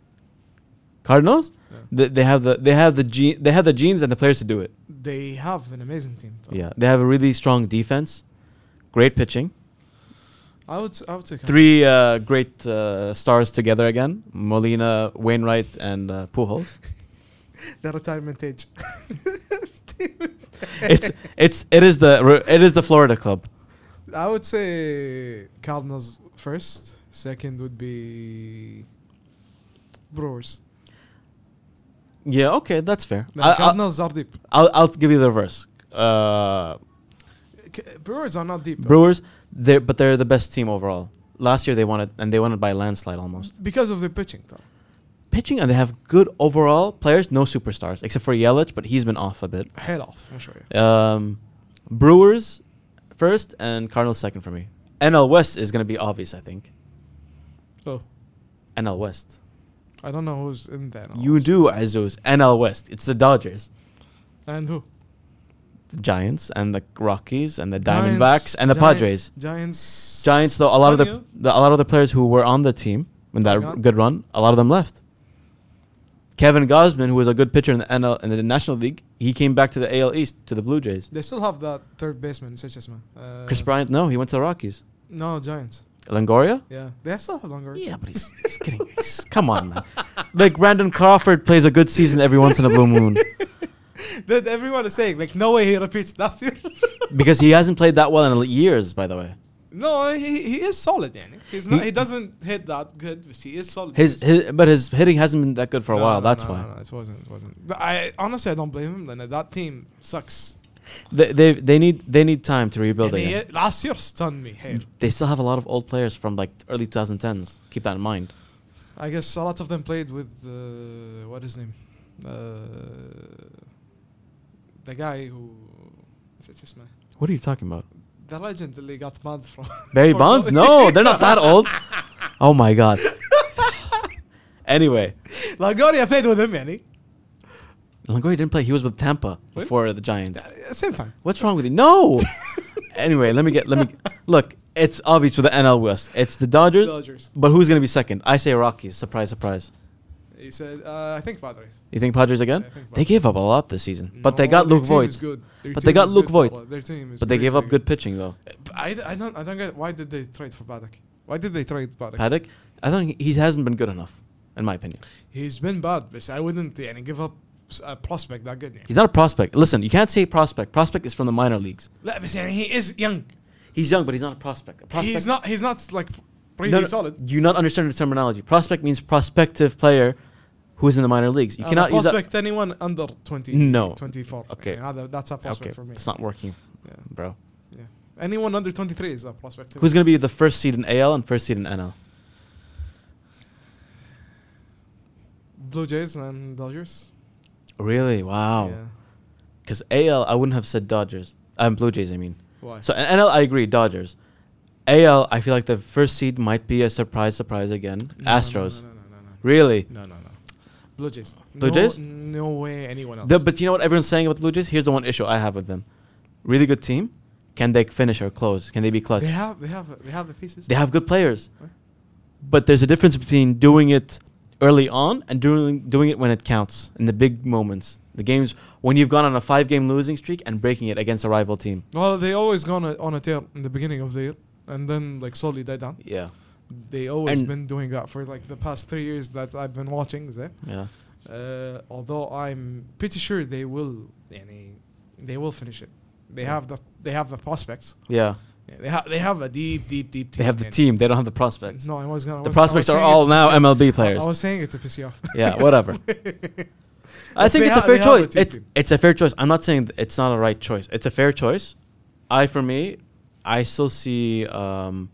A: Cardinals?
B: Yeah.
A: They, they have the they have the ge- they have the genes and the players to do it.
B: They have an amazing team. though.
A: Yeah, they have a really strong defense, great pitching,
B: I would. s- I would say Cardinals.
A: three uh, great uh, stars together again: Molina, Wainwright, and uh, Pujols.
B: The retirement age.
A: it's it's it is the re- it is the Florida club.
B: I would say Cardinals first. Second would be Brewers.
A: Yeah, okay, that's fair.
B: No,
A: I, I'll,
B: Cardinals are deep.
A: I'll I'll give you the reverse. Uh,
B: C- Brewers are not deep. though.
A: Brewers, they but they're the best team overall. Last year they won it, and they won it by a landslide almost.
B: because of the pitching. Though.
A: Pitching and they have good overall players, no superstars except for Yelich, but he's been off a bit.
B: Head off. I'm sure.
A: Um, Brewers first and Cardinals second for me. NL West is going to be obvious, I think.
B: Oh,
A: NL West.
B: I don't know who's in there. now.
A: You do, Azuz. NL West. It's the Dodgers,
B: And who?
A: the Giants, and the Rockies, and the
B: Giants,
A: Diamondbacks, and the
B: Giant-
A: Padres.
B: Giants.
A: Giants, though, a lot of the,
B: Antonio?
A: the a lot of the players who were on the team in that
B: They're gone.
A: good run, a lot of them left. Kevin Gosman, who was a good pitcher in the NL in the National League, he came back to the AL East to the Blue Jays.
B: They still have that third baseman, such as man. Uh,
A: Chris Bryant, no, he went to the Rockies.
B: No, Giants.
A: Longoria,
B: Yeah, they still have longer.
A: Yeah, but he's, he's kidding. He's- come on, man. Like Brandon Crawford plays a good season every once in a blue moon
B: That everyone is saying like, no way he repeats last year.
A: because he hasn't played that well in l- years, by the way.
B: no, he he is solid. يعني. He's
A: He-
B: not. He doesn't hit that good, but he is solid.
A: His, his but his hitting hasn't been that good for a
B: No,
A: while.
B: no,
A: that's
B: no,
A: why.
B: No, no, it wasn't. It wasn't. But I honestly I don't blame him. Then that team sucks.
A: They, they they need they need time to rebuild
B: يعني
A: again.
B: last year stunned me here.
A: They still have a lot of old players from like early 2010s. Keep that in mind.
B: I guess a lot of them played with uh, what is his name? Uh, the guy who نسيت اسمه.
A: What are you talking about?
B: The legend اللي got banned from
A: Barry
B: for
A: Bonds?
B: goalie.
A: No, they're not that old. Oh my god. anyway,
B: Longoria played with him يعني.
A: Longoria didn't play. He was with Tampa
B: Really?
A: before the Giants.
B: uh, Same time.
A: What's wrong with you? No. anyway, let me get let me look. It's obvious for the NL West. It's the Dodgers.
B: Dodgers.
A: But who's gonna be second? I say Rockies. Surprise, surprise.
B: He said, uh, I think Padres.
A: You think Padres again?
B: I think
A: They
B: Padres.
A: gave up a lot this season, but they
B: No,
A: got
B: their
A: Luke
B: team
A: Voigt.
B: is good. Their
A: But they
B: team
A: got
B: is
A: Luke
B: good,
A: Voigt.
B: Pablo. Their team is
A: But they
B: very,
A: gave up
B: very
A: good pitching though.
B: But I, I don't I don't get why did they trade for Paddock? Why did they trade Paddock?
A: Paddock, I think he hasn't been good enough, in my opinion.
B: He's been bad, but I wouldn't يعني give up s- a prospect that good. يعني.
A: He's not a prospect. Listen, you can't say prospect. Prospect is from the minor leagues.
B: لا بس يعني he is young.
A: He's young, but he's not a prospect. A prospect
B: He's not he's not like
A: No,
B: really
A: no,
B: solid.
A: Do you not understand the terminology? Prospect means prospective player who is in the minor leagues. You
B: I'm
A: cannot
B: a
A: use that.
B: Uh, prospect anyone under 20
A: No.
B: 24.
A: Okay.
B: يعني هذا ah, that's a prospect
A: Okay,
B: for me.
A: it's not working,
B: Yeah,
A: bro.
B: yeah. Anyone under 23 is a prospect. to
A: Who's
B: me.
A: gonna be the first seed in AL and first seed in NL?
B: Blue Jays and Dodgers?
A: Really? Wow.
B: Yeah.
A: Because AL, I wouldn't have said Dodgers. um, Blue Jays. I mean.
B: Why?
A: So in NL, I agree. Dodgers. AL, I feel like the first seed might be a surprise, surprise again.
B: No, no,
A: Astros.
B: No, no, no, no, no.
A: Really?
B: No, no, no. Blue Jays.
A: Blue
B: no,
A: Jays?
B: No way anyone else.
A: The, but you know what everyone's saying about the Blue Jays? Here's the one issue I have with them. Really good team. Can they finish or close? Can they be clutch?
B: they have they have they have the pieces.
A: They have good players.
B: Right.
A: But there's a difference between doing it early on and doing doing it when it counts in the big moments. The games when you've gone on a five game losing streak and breaking it against a rival team.
B: well, they always gone on a- on a tear in the beginning of the year and then like slowly die down.
A: Yeah.
B: They always
A: And-
B: been doing that for like the past 3 years that I've been watching that.
A: Yeah.
B: Uh, although I'm pretty sure they will يعني, they will finish it. They
A: Yeah.
B: have the they have the prospects.
A: Yeah.
B: Yeah, they have they have a deep deep deep team.
A: They have the
B: يعني.
A: team, they don't have the prospects.
B: No, I was gonna I
A: The
B: was- I was
A: prospects are
B: saying it
A: all
B: to
A: now
B: piss you off.
A: MLB
B: I-
A: players.
B: I was saying it to piss you off.
A: Yeah, whatever. I
B: Yes,
A: think
B: they
A: it's a
B: ha-
A: fair
B: they have a
A: choice.
B: team
A: It's
B: team.
A: it's a fair choice. I'm not saying th- it's not a right choice. It's a fair choice. I for me, I still see. Um,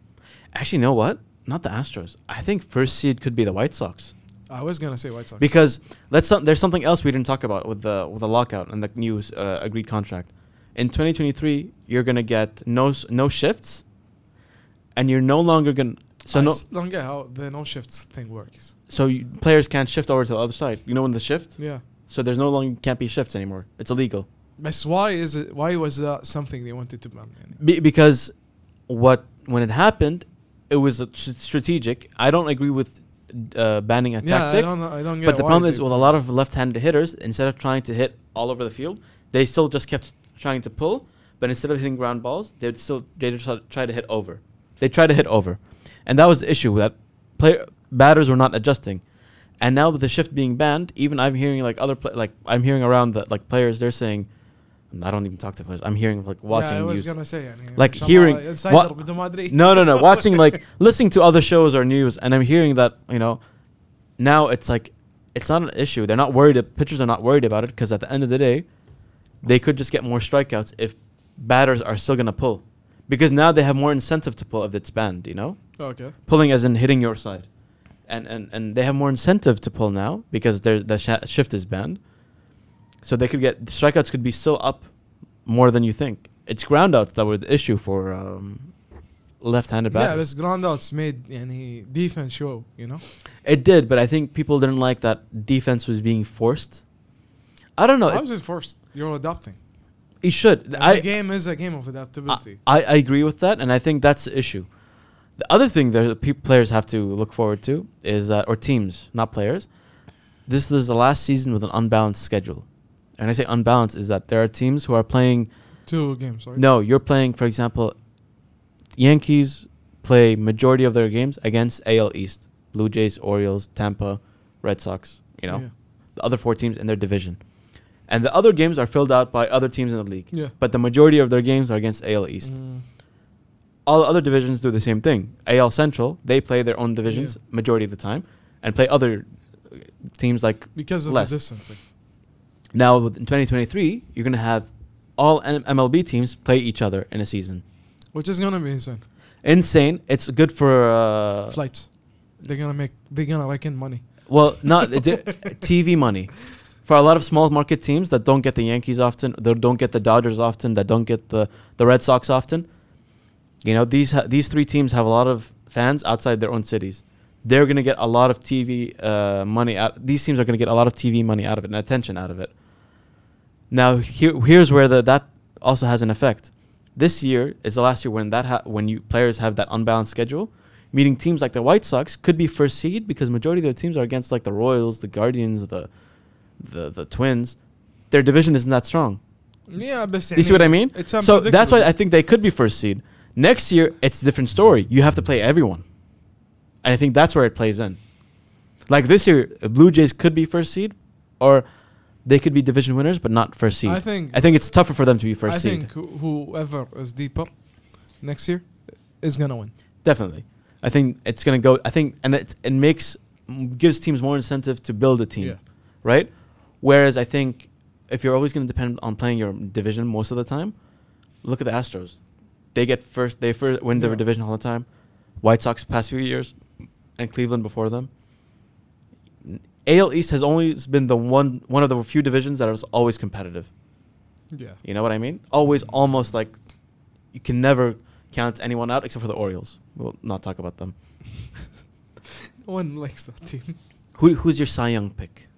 A: actually, you know what? Not the Astros. I think first seed could be the White Sox
B: I was gonna say White Sox.
A: because let's some, there's something else we didn't talk about with the with the lockout and the new uh, agreed contract. In 2023, you're gonna get no s- no shifts, and you're no longer gonna so
B: I
A: no
B: s- don't get how the no shifts thing works.
A: so you, players can't shift over to the other side. You know when the shift,
B: Yeah.
A: so there's no longer can't be shifts anymore. It's illegal.
B: But why is it? Why was that something they wanted to ban? يعني?
A: Be- because what when it happened, it was a s- strategic. I don't agree with uh, banning a
B: Yeah, I
A: tactic,
B: don't. know- I don't get.
A: but the
B: why
A: problem
B: they-
A: is with a lot of left-handed hitters, instead of trying to hit all over the field, they still just kept trying to pull. But instead of hitting ground balls, they'd still they just try- try to hit over. They try to hit over, and that was the issue that player batters were not adjusting. And now with the shift being banned, even I'm hearing like other pla like I'm hearing around that like players they're saying, I don't even talk to players. I'm hearing like watching.
B: Yeah, I was
A: news.
B: gonna say. يعني
A: Like
B: إن شاء الله
A: hearing-
B: insider
A: what-
B: بدون ما أدري.
A: No, no, no. Watching like listening to other shows or news, and I'm hearing that you know, now it's like it's not an issue. They're not worried. Pitchers are not worried about it because at the end of the day, they could just get more strikeouts if batters are still gonna pull, because now they have more incentive to pull if it's banned. You know,
B: Okay.
A: pulling as in hitting your side, and and and they have more incentive to pull now because their the sh- shift is banned, so they could get strikeouts could be still up more than you think. It's groundouts that were the issue for. Um, Left-handed
B: Yeah,
A: batters.
B: but ground outs made يعني defense show. You know.
A: It did, but I think people didn't like that defense was being forced. I don't know.
B: How
A: It,
B: is it forced? You're adapting.
A: it should.
B: And the
A: I, Uh,
B: game is a game of
A: I
B: adaptability.
A: I agree with that, and I think that's the issue. The other thing that pe- players have to look forward to is that, or teams, not players. This is the last season with an unbalanced schedule, and I say unbalanced is that there are teams who are playing.
B: Two games, right?
A: uh, No, you're playing. For example, Yankees play majority of their games against AL East, Blue Jays, Orioles, Tampa, Red Sox. You know. the other four teams in their division. And the other games are filled out by other teams in the league.
B: Yeah.
A: But the majority of their games are against AL East.
B: Mm.
A: All other divisions do the same thing. AL Central, they play their own divisions
B: Yeah.
A: majority of the time and play other uh, teams like
B: Because of
A: Less.
B: the distance. Thing.
A: now with- in 2023, you're going to have all M- MLB teams play each other in a season.
B: which is gonna be insane.
A: Insane. It's good for uh,
B: Flights, they're gonna make they're gonna rake in money.
A: well, not it di- TV money for a lot of small market teams that don't get the Yankees often, that don't get the Dodgers often, that don't get the the Red Sox often. You know, these ha- these three teams have a lot of fans outside their own cities. They're going to get a lot of TV uh, money out. These teams are going to get a lot of TV money out of it and attention out of it. Now, here, here's where the, that also has an effect. This year is the last year when that ha- when you players have that unbalanced schedule, meaning teams like the White Sox could be first seed because majority of their teams are against like the Royals, the Guardians, the the the Twins. Their division isn't that strong.
B: Yeah, but
A: You see what I mean?
B: It's
A: So that's why
B: unpredictable.
A: I think they could be first seed. Next year, it's a different story. You have to play everyone, and I think that's where it plays in. Like this year, uh, Blue Jays could be first seed, or they could be division winners, but not first seed.
B: I think-
A: I think it's tougher for them to be first
B: I
A: seed.
B: think who- whoever is deeper next year is gonna win.
A: Definitely, I think it's gonna go. I think, and it it makes m- gives teams more incentive to build a team,
B: Yeah.
A: right? Whereas I think if you're always gonna depend on playing your division most of the time, look at the Astros. They get first. They first win their
B: Yeah.
A: division all the time. White Sox past few years, and Cleveland before them. AL East has always been the one one of the few divisions that is always competitive.
B: Yeah.
A: You know what I mean? Always almost like you can never count anyone out except for the Orioles. We'll not talk about them.
B: No one likes that team.
A: Who, who's your Cy Young pick?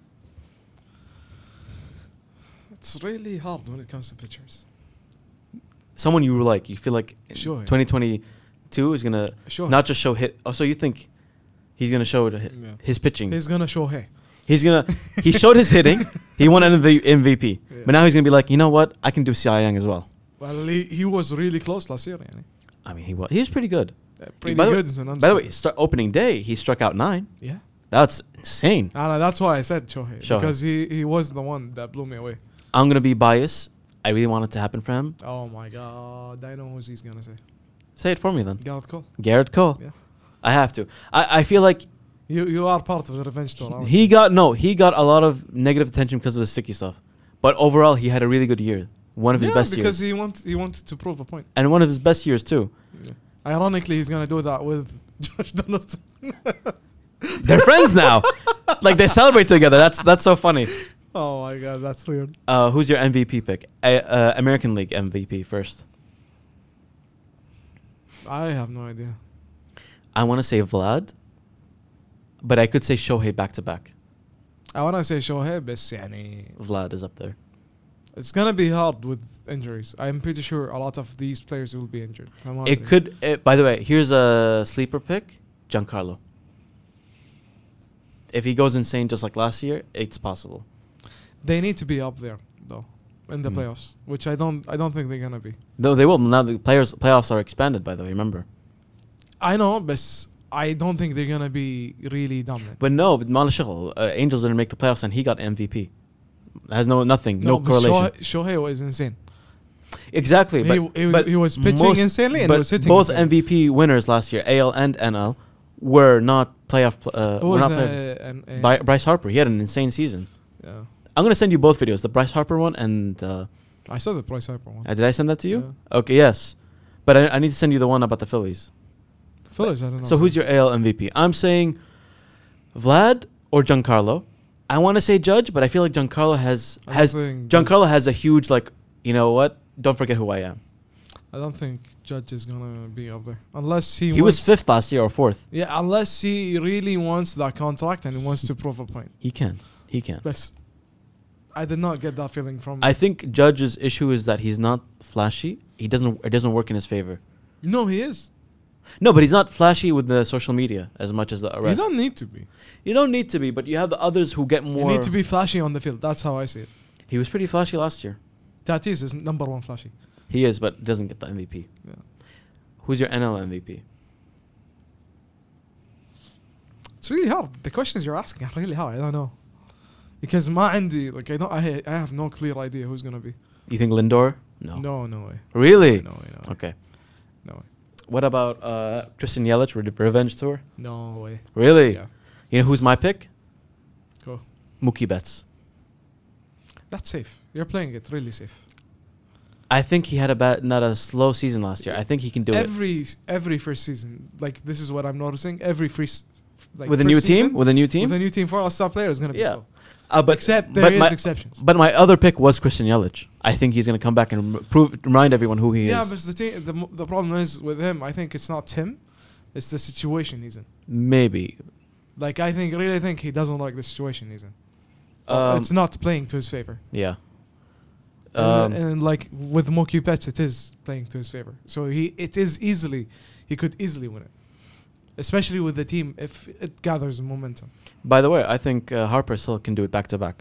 B: It's really hard when it comes to pitchers.
A: Someone you like, you feel like in
B: Sure.
A: 2022 is going to
B: Sure.
A: not just show hit. Oh, so you think he's going to show it, hi-
B: Yeah.
A: his pitching.
B: He's gonna show hey.
A: he's going to, he showed his hitting. He won MV, MVP.
B: Yeah.
A: But now he's going to be like, you know what? I can do Cy Young as well.
B: Well, he, he was really close last year, يعني.
A: I mean, he was, he's pretty good.
B: Uh, Pretty
A: by the
B: good.
A: Way, by the way, start opening day, he struck out nine.
B: yeah.
A: That's insane.
B: Ah, no, that's why I said Shohei,
A: Shohei.
B: because he, he was the one that blew me away.
A: I'm going to be biased. I really want it to happen for him.
B: Oh my god, I know who he's gonna say.
A: Say it for me then.
B: Garrett Cole.
A: Garrett Cole.
B: Yeah.
A: I have to. I, I feel like
B: You you are part of the revenge tour. aren't
A: he
B: you?
A: got no, he got a lot of negative attention because of the sticky stuff. But overall, he had a really good year, one of his
B: yeah,
A: best
B: because
A: years,
B: he wants he wanted to prove a point.
A: and one of his best years too.
B: Ironically, he's gonna do that with Josh Donaldson.
A: They're friends now, like they celebrate together. That's that's so funny.
B: Oh my god, that's weird.
A: Uh, who's your MVP pick? A, uh, American League MVP first.
B: I have no idea.
A: I want to say Vlad, but I could say Shohei back to back.
B: I wanna say Shohei, but يعني
A: Vlad is up there.
B: it's gonna be hard with injuries. I'm pretty sure a lot of these players will be injured. from what
A: It
B: I-
A: could. It, by the way, here's a sleeper pick: Giancarlo. If he goes insane just like last year, it's possible.
B: They need to be up there though in the
A: Mm.
B: playoffs, which I don't I don't think they're gonna be.
A: Though they will now. The players playoffs are expanded. By the way, remember.
B: I know, but I don't think they're gonna be really dominant.
A: But no, but Malashil, uh, Angels didn't make the playoffs, and he got MVP. Has no nothing, no,
B: but
A: correlation.
B: Shohei, Shohei was insane.
A: exactly,
B: He
A: but,
B: w- he was-
A: but
B: he was pitching insanely and he
A: but
B: was hitting
A: Both
B: insanely.
A: MVP winners last year, AL and NL, were not playoff. Pl- uh,
B: Who
A: were
B: was uh,
A: not
B: the-
A: playoff.
B: an- a-
A: Bri- Bryce Harper, he had an insane season.
B: yeah.
A: I'm gonna send you both videos, the Bryce Harper one and. Uh,
B: I saw the Bryce Harper one.
A: Uh, did I send that to you? Okay, yes. But I, I need to send you the one about the Phillies.
B: Phillies, I don't know.
A: So who's your AL MVP? I'm saying Vlad or Giancarlo. I want to say Judge, but I feel like Giancarlo has
B: I'm
A: has
B: saying
A: Giancarlo has a huge like you know what? Don't forget who I am.
B: I don't think Judge is gonna be up there unless he.
A: He,
B: wants,
A: was fifth last year or fourth.
B: Yeah, unless he really wants that contract and he wants to prove a point.
A: He can. He can.
B: But I did not get that feeling from.
A: I think Judge's issue is that he's not flashy. He doesn't. It doesn't work in his favor.
B: no, he is.
A: No, but he's not flashy with the social media as much as the
B: You
A: rest.
B: don't need to be.
A: You don't need to be, but you have the others who get more.
B: You need to be flashy on the field. That's how I see it.
A: He was pretty flashy last year.
B: Tatis is number one flashy.
A: He is, but doesn't get the MVP.
B: Yeah.
A: Who's your NL MVP?
B: It's really hard. The questions you're asking are really hard. I don't know. Because ما عندي like I don't I, I have no clear idea who's gonna be.
A: You think Lindor? No.
B: No, no way.
A: Really?
B: No way, no way.
A: Okay.
B: No way.
A: What about uh, Christian Yelich re- Revenge Tour?
B: No way.
A: Really?
B: Yeah.
A: You know who's my pick?
B: Go.
A: Mookie Betts.
B: That's safe. You're playing it really safe.
A: I think he had a bad, not a slow season last year. I think he can do it
B: every every first season. Like this is what I'm noticing. Every free s- like
A: with a
B: first
A: new
B: season,
A: team. With a new team.
B: with a new team for all star player is going to be
A: Yeah.
B: slow.
A: uh, but
B: Except there
A: but
B: is
A: my,
B: exceptions.
A: but my other pick was Christian Yelich. I think he's going to come back and rem- prove remind everyone who he
B: yeah,
A: is.
B: but the, team, the mo- the problem is with him. I think it's not Tim. It's the situation he's in.
A: Maybe.
B: Like I think, really think he doesn't like the situation he's in.
A: Um,
B: Oh, it's not playing to his favor.
A: Yeah.
B: And-
A: Um,
B: and, like with Moki Pets, it is playing to his favor. So he it is easily he could easily win it, especially with the team if it gathers momentum.
A: by the way, I think uh, Harper still can do it back to back.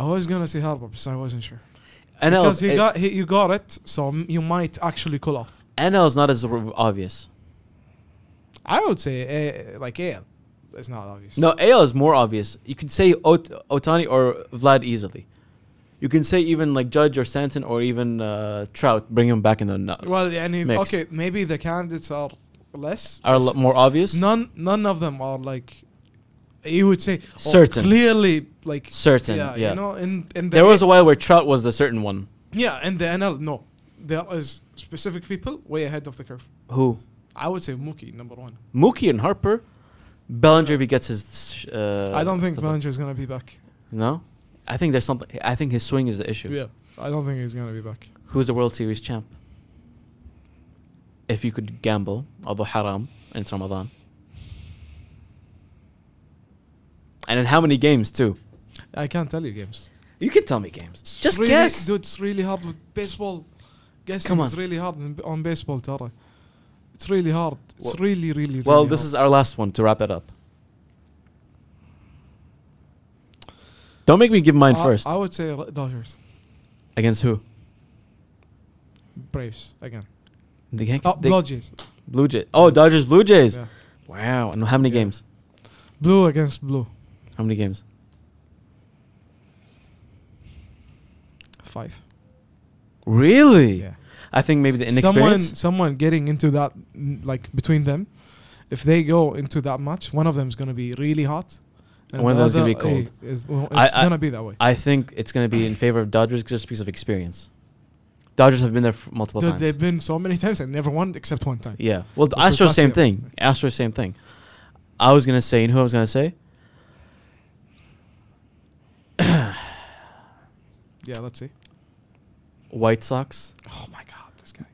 B: I was gonna say Harper, but I wasn't sure
A: NL
B: because
A: is
B: he got he, you got it, so m- you might actually call off.
A: NL is not as r- obvious.
B: I would say uh, like AL, it's not obvious.
A: No, AL is more obvious. You can say Ot- Otani or Vlad easily. You can say even like Judge or Stanton or even uh, Trout. Bring him back in the nu-
B: well, yeah, and he-
A: Mix.
B: okay, maybe the candidates are less.
A: are l- more obvious.
B: none none of them are like you would say oh,
A: Certain.
B: clearly like
A: Certain, yeah.
B: you know in in the
A: there was a while where Trout was the certain one.
B: Yeah, and the NL, no. There is specific people way ahead of the curve.
A: Who?
B: I would say Mookie, number one.
A: Mookie and Harper. Bellinger, if he gets his. sh- Uh,
B: I don't think
A: stuff like-
B: Bellinger is going to be back.
A: No, I think there's something. I think his swing is the issue.
B: Yeah, I don't think he's going to be back.
A: Who's the World Series champ? If you could gamble, although haram, and it's Ramadan. And in how many games too?
B: I can't tell you games.
A: You can tell me games.
B: It's
A: Just
B: really,
A: guess.
B: Dude, it's really hard with baseball. Guessing
A: Come
B: is
A: on.
B: really hard in- on baseball, Tara. It's really hard. It's
A: Well-
B: really, really,
A: well,
B: really
A: this
B: hard.
A: is our last one to wrap it up. Don't make me give mine
B: I-
A: first.
B: I would say Dodgers.
A: Against who?
B: Braves, again.
A: The Yankees.
B: Oh,
A: the
B: Blue Jays.
A: Blue Jays. Oh, Dodgers. Blue Jays.
B: Yeah.
A: Wow. And how many
B: Yeah.
A: games?
B: Blue against blue.
A: How many games?
B: Five.
A: Really?
B: Yeah.
A: I think maybe the
B: someone
A: inexperience.
B: someone getting into that n- like between them if they go into that match one of them is going to be really hot
A: And one of them is
B: the
A: gonna be
B: other,
A: cold.
B: eh, is- well,
A: I-
B: it's
A: I-
B: going to be that way
A: I think it's going to be in favor of Dodgers just because of experience. Dodgers have been there f- multiple
B: Dude,
A: times.
B: they've been so many times and never won except one time
A: yeah. Well, the
B: Which was
A: Astros
B: last
A: same
B: year.
A: thing. Astros same thing. I was going to say, and who I was going to say?
B: yeah let's see
A: White Sox.
B: oh my god this guy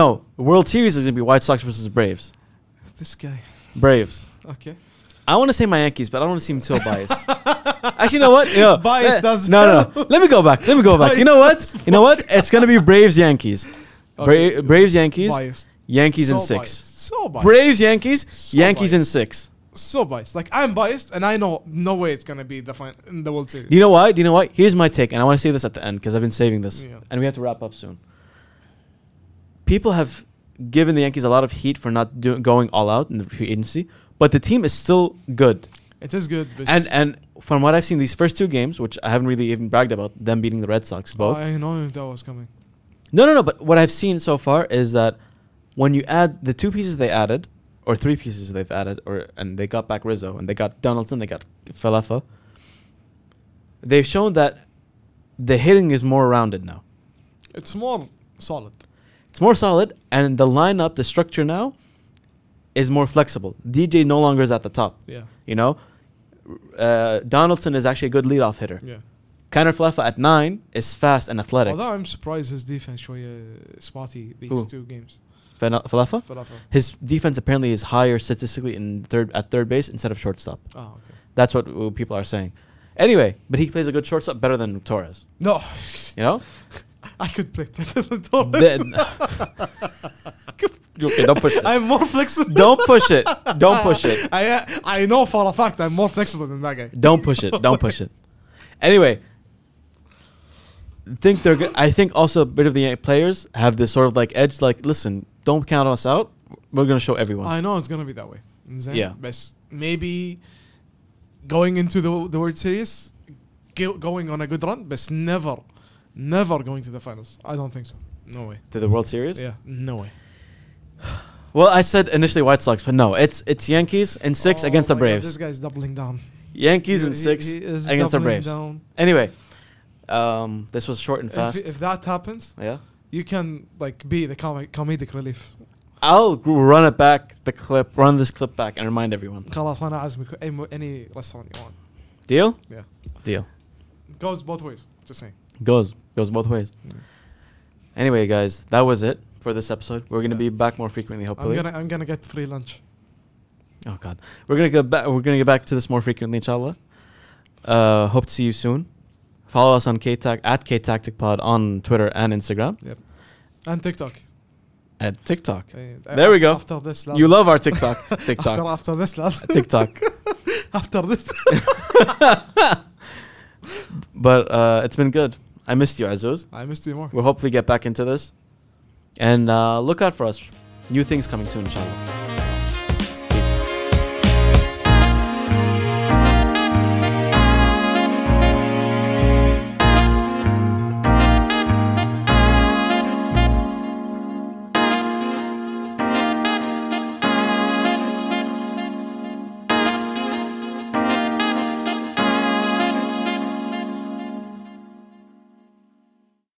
A: No, World Series is going to be White Sox versus Braves.
B: this guy
A: Braves.
B: okay
A: I want to say my Yankees, but I don't want to seem so biased. Actually, you know what? Yeah.
B: Bias
A: Eh,
B: doesn't
A: No, no, no. Let me go back. Let me go back. You know what? You know what? It's going to be Braves Yankees.
B: Okay.
A: Bra- Braves Yankees.
B: biased
A: Yankees in
B: So
A: 6.
B: biased. so biased
A: Braves Yankees.
B: So
A: Yankees in
B: biased.
A: 6.
B: so biased like i'm biased and i know no way it's going to be the final in the world series
A: Do you know why? Do you know why? Here's my take, and I want to say this at the end because I've been saving this,
B: Yeah.
A: and we have to wrap up soon. People have given the Yankees a lot of heat for not do- going all out in the free agency, but the team is still good.
B: it is good but
A: And and from what I've seen, these first two games, which I haven't really even bragged about, them beating the Red Sox both.
B: i know that was coming
A: No, no, no. But what I've seen so far is that when you add the two pieces they added, or three pieces they've added, or and they got back Rizzo, and they got Donaldson, they got Falefa. They've shown that the hitting is more rounded now.
B: it's more solid
A: It's more solid, and the lineup, the structure now, is more flexible. DJ no longer is at the top.
B: yeah
A: You know, uh, Donaldson is actually a good leadoff hitter.
B: yeah
A: Connor Falefa at nine is fast and athletic.
B: Although I'm surprised his defense شوية spotty these
A: Who?
B: two games.
A: Fena- Falefa.
B: Falafel.
A: His defense apparently is higher statistically in third at third base instead of shortstop.
B: Oh, okay.
A: That's what uh, people are saying. Anyway, but he plays a good shortstop better than Torres.
B: No,
A: You know,
B: I could play better than Torres.
A: Then- okay, don't push it.
B: I'm more flexible. Ah,
A: Don't push it. Don't push it.
B: I I know for a fact I'm more flexible than that guy.
A: Don't push it. Don't push it. Anyway, think they're good. I think also a bit of the Yan- players have this sort of like edge. Like, listen, don't count us out. We're gonna show everyone.
B: I know it's gonna be that way. زين؟
A: Yeah.
B: بس maybe going into the the World Series, go- going on a good run, but never, never going to the finals. I don't think so. No way.
A: to the World Series.
B: Yeah, no way.
A: Well, I said initially White Sox, but no, it's it's Yankees and six
B: Oh
A: against the
B: my God,
A: Braves.
B: this guy's doubling down.
A: Yankees
B: He-
A: and
B: he-
A: six
B: he is
A: against the
B: doubling
A: Braves.
B: down.
A: Anyway, Um, this was short and
B: If,
A: fast.
B: if that happens,
A: yeah.
B: you can like be the comic comedic relief.
A: I'll gr- run it back, the clip, run this clip back and remind everyone.
B: خلاص انا اعزمك اي م- any restaurant you want.
A: Deal?
B: Yeah.
A: Deal.
B: Goes both ways. Just saying.
A: Goes. Goes both ways.
B: Yeah.
A: Anyway, guys, that was it for this episode. We're going to
B: Yeah.
A: be back more frequently,
B: I'm
A: hopefully.
B: gonna I'm gonna get free lunch.
A: Oh God, we're gonna go back. We're gonna get back to this more frequently, inshallah. Uh, hope to see you soon. Follow us on K at K Tactic Pod on Twitter and Instagram
B: Yep. And TikTok.
A: and TikTok.
B: Okay,
A: There we go.
B: After this
A: You love our TikTok,
B: After,
A: TikTok,
B: after this last.
A: TikTok.
B: after this.
A: But uh, it's been good. I missed you, Azuz.
B: I missed you more.
A: We'll hopefully get back into this, and uh, look out for us. New things coming soon, inshallah.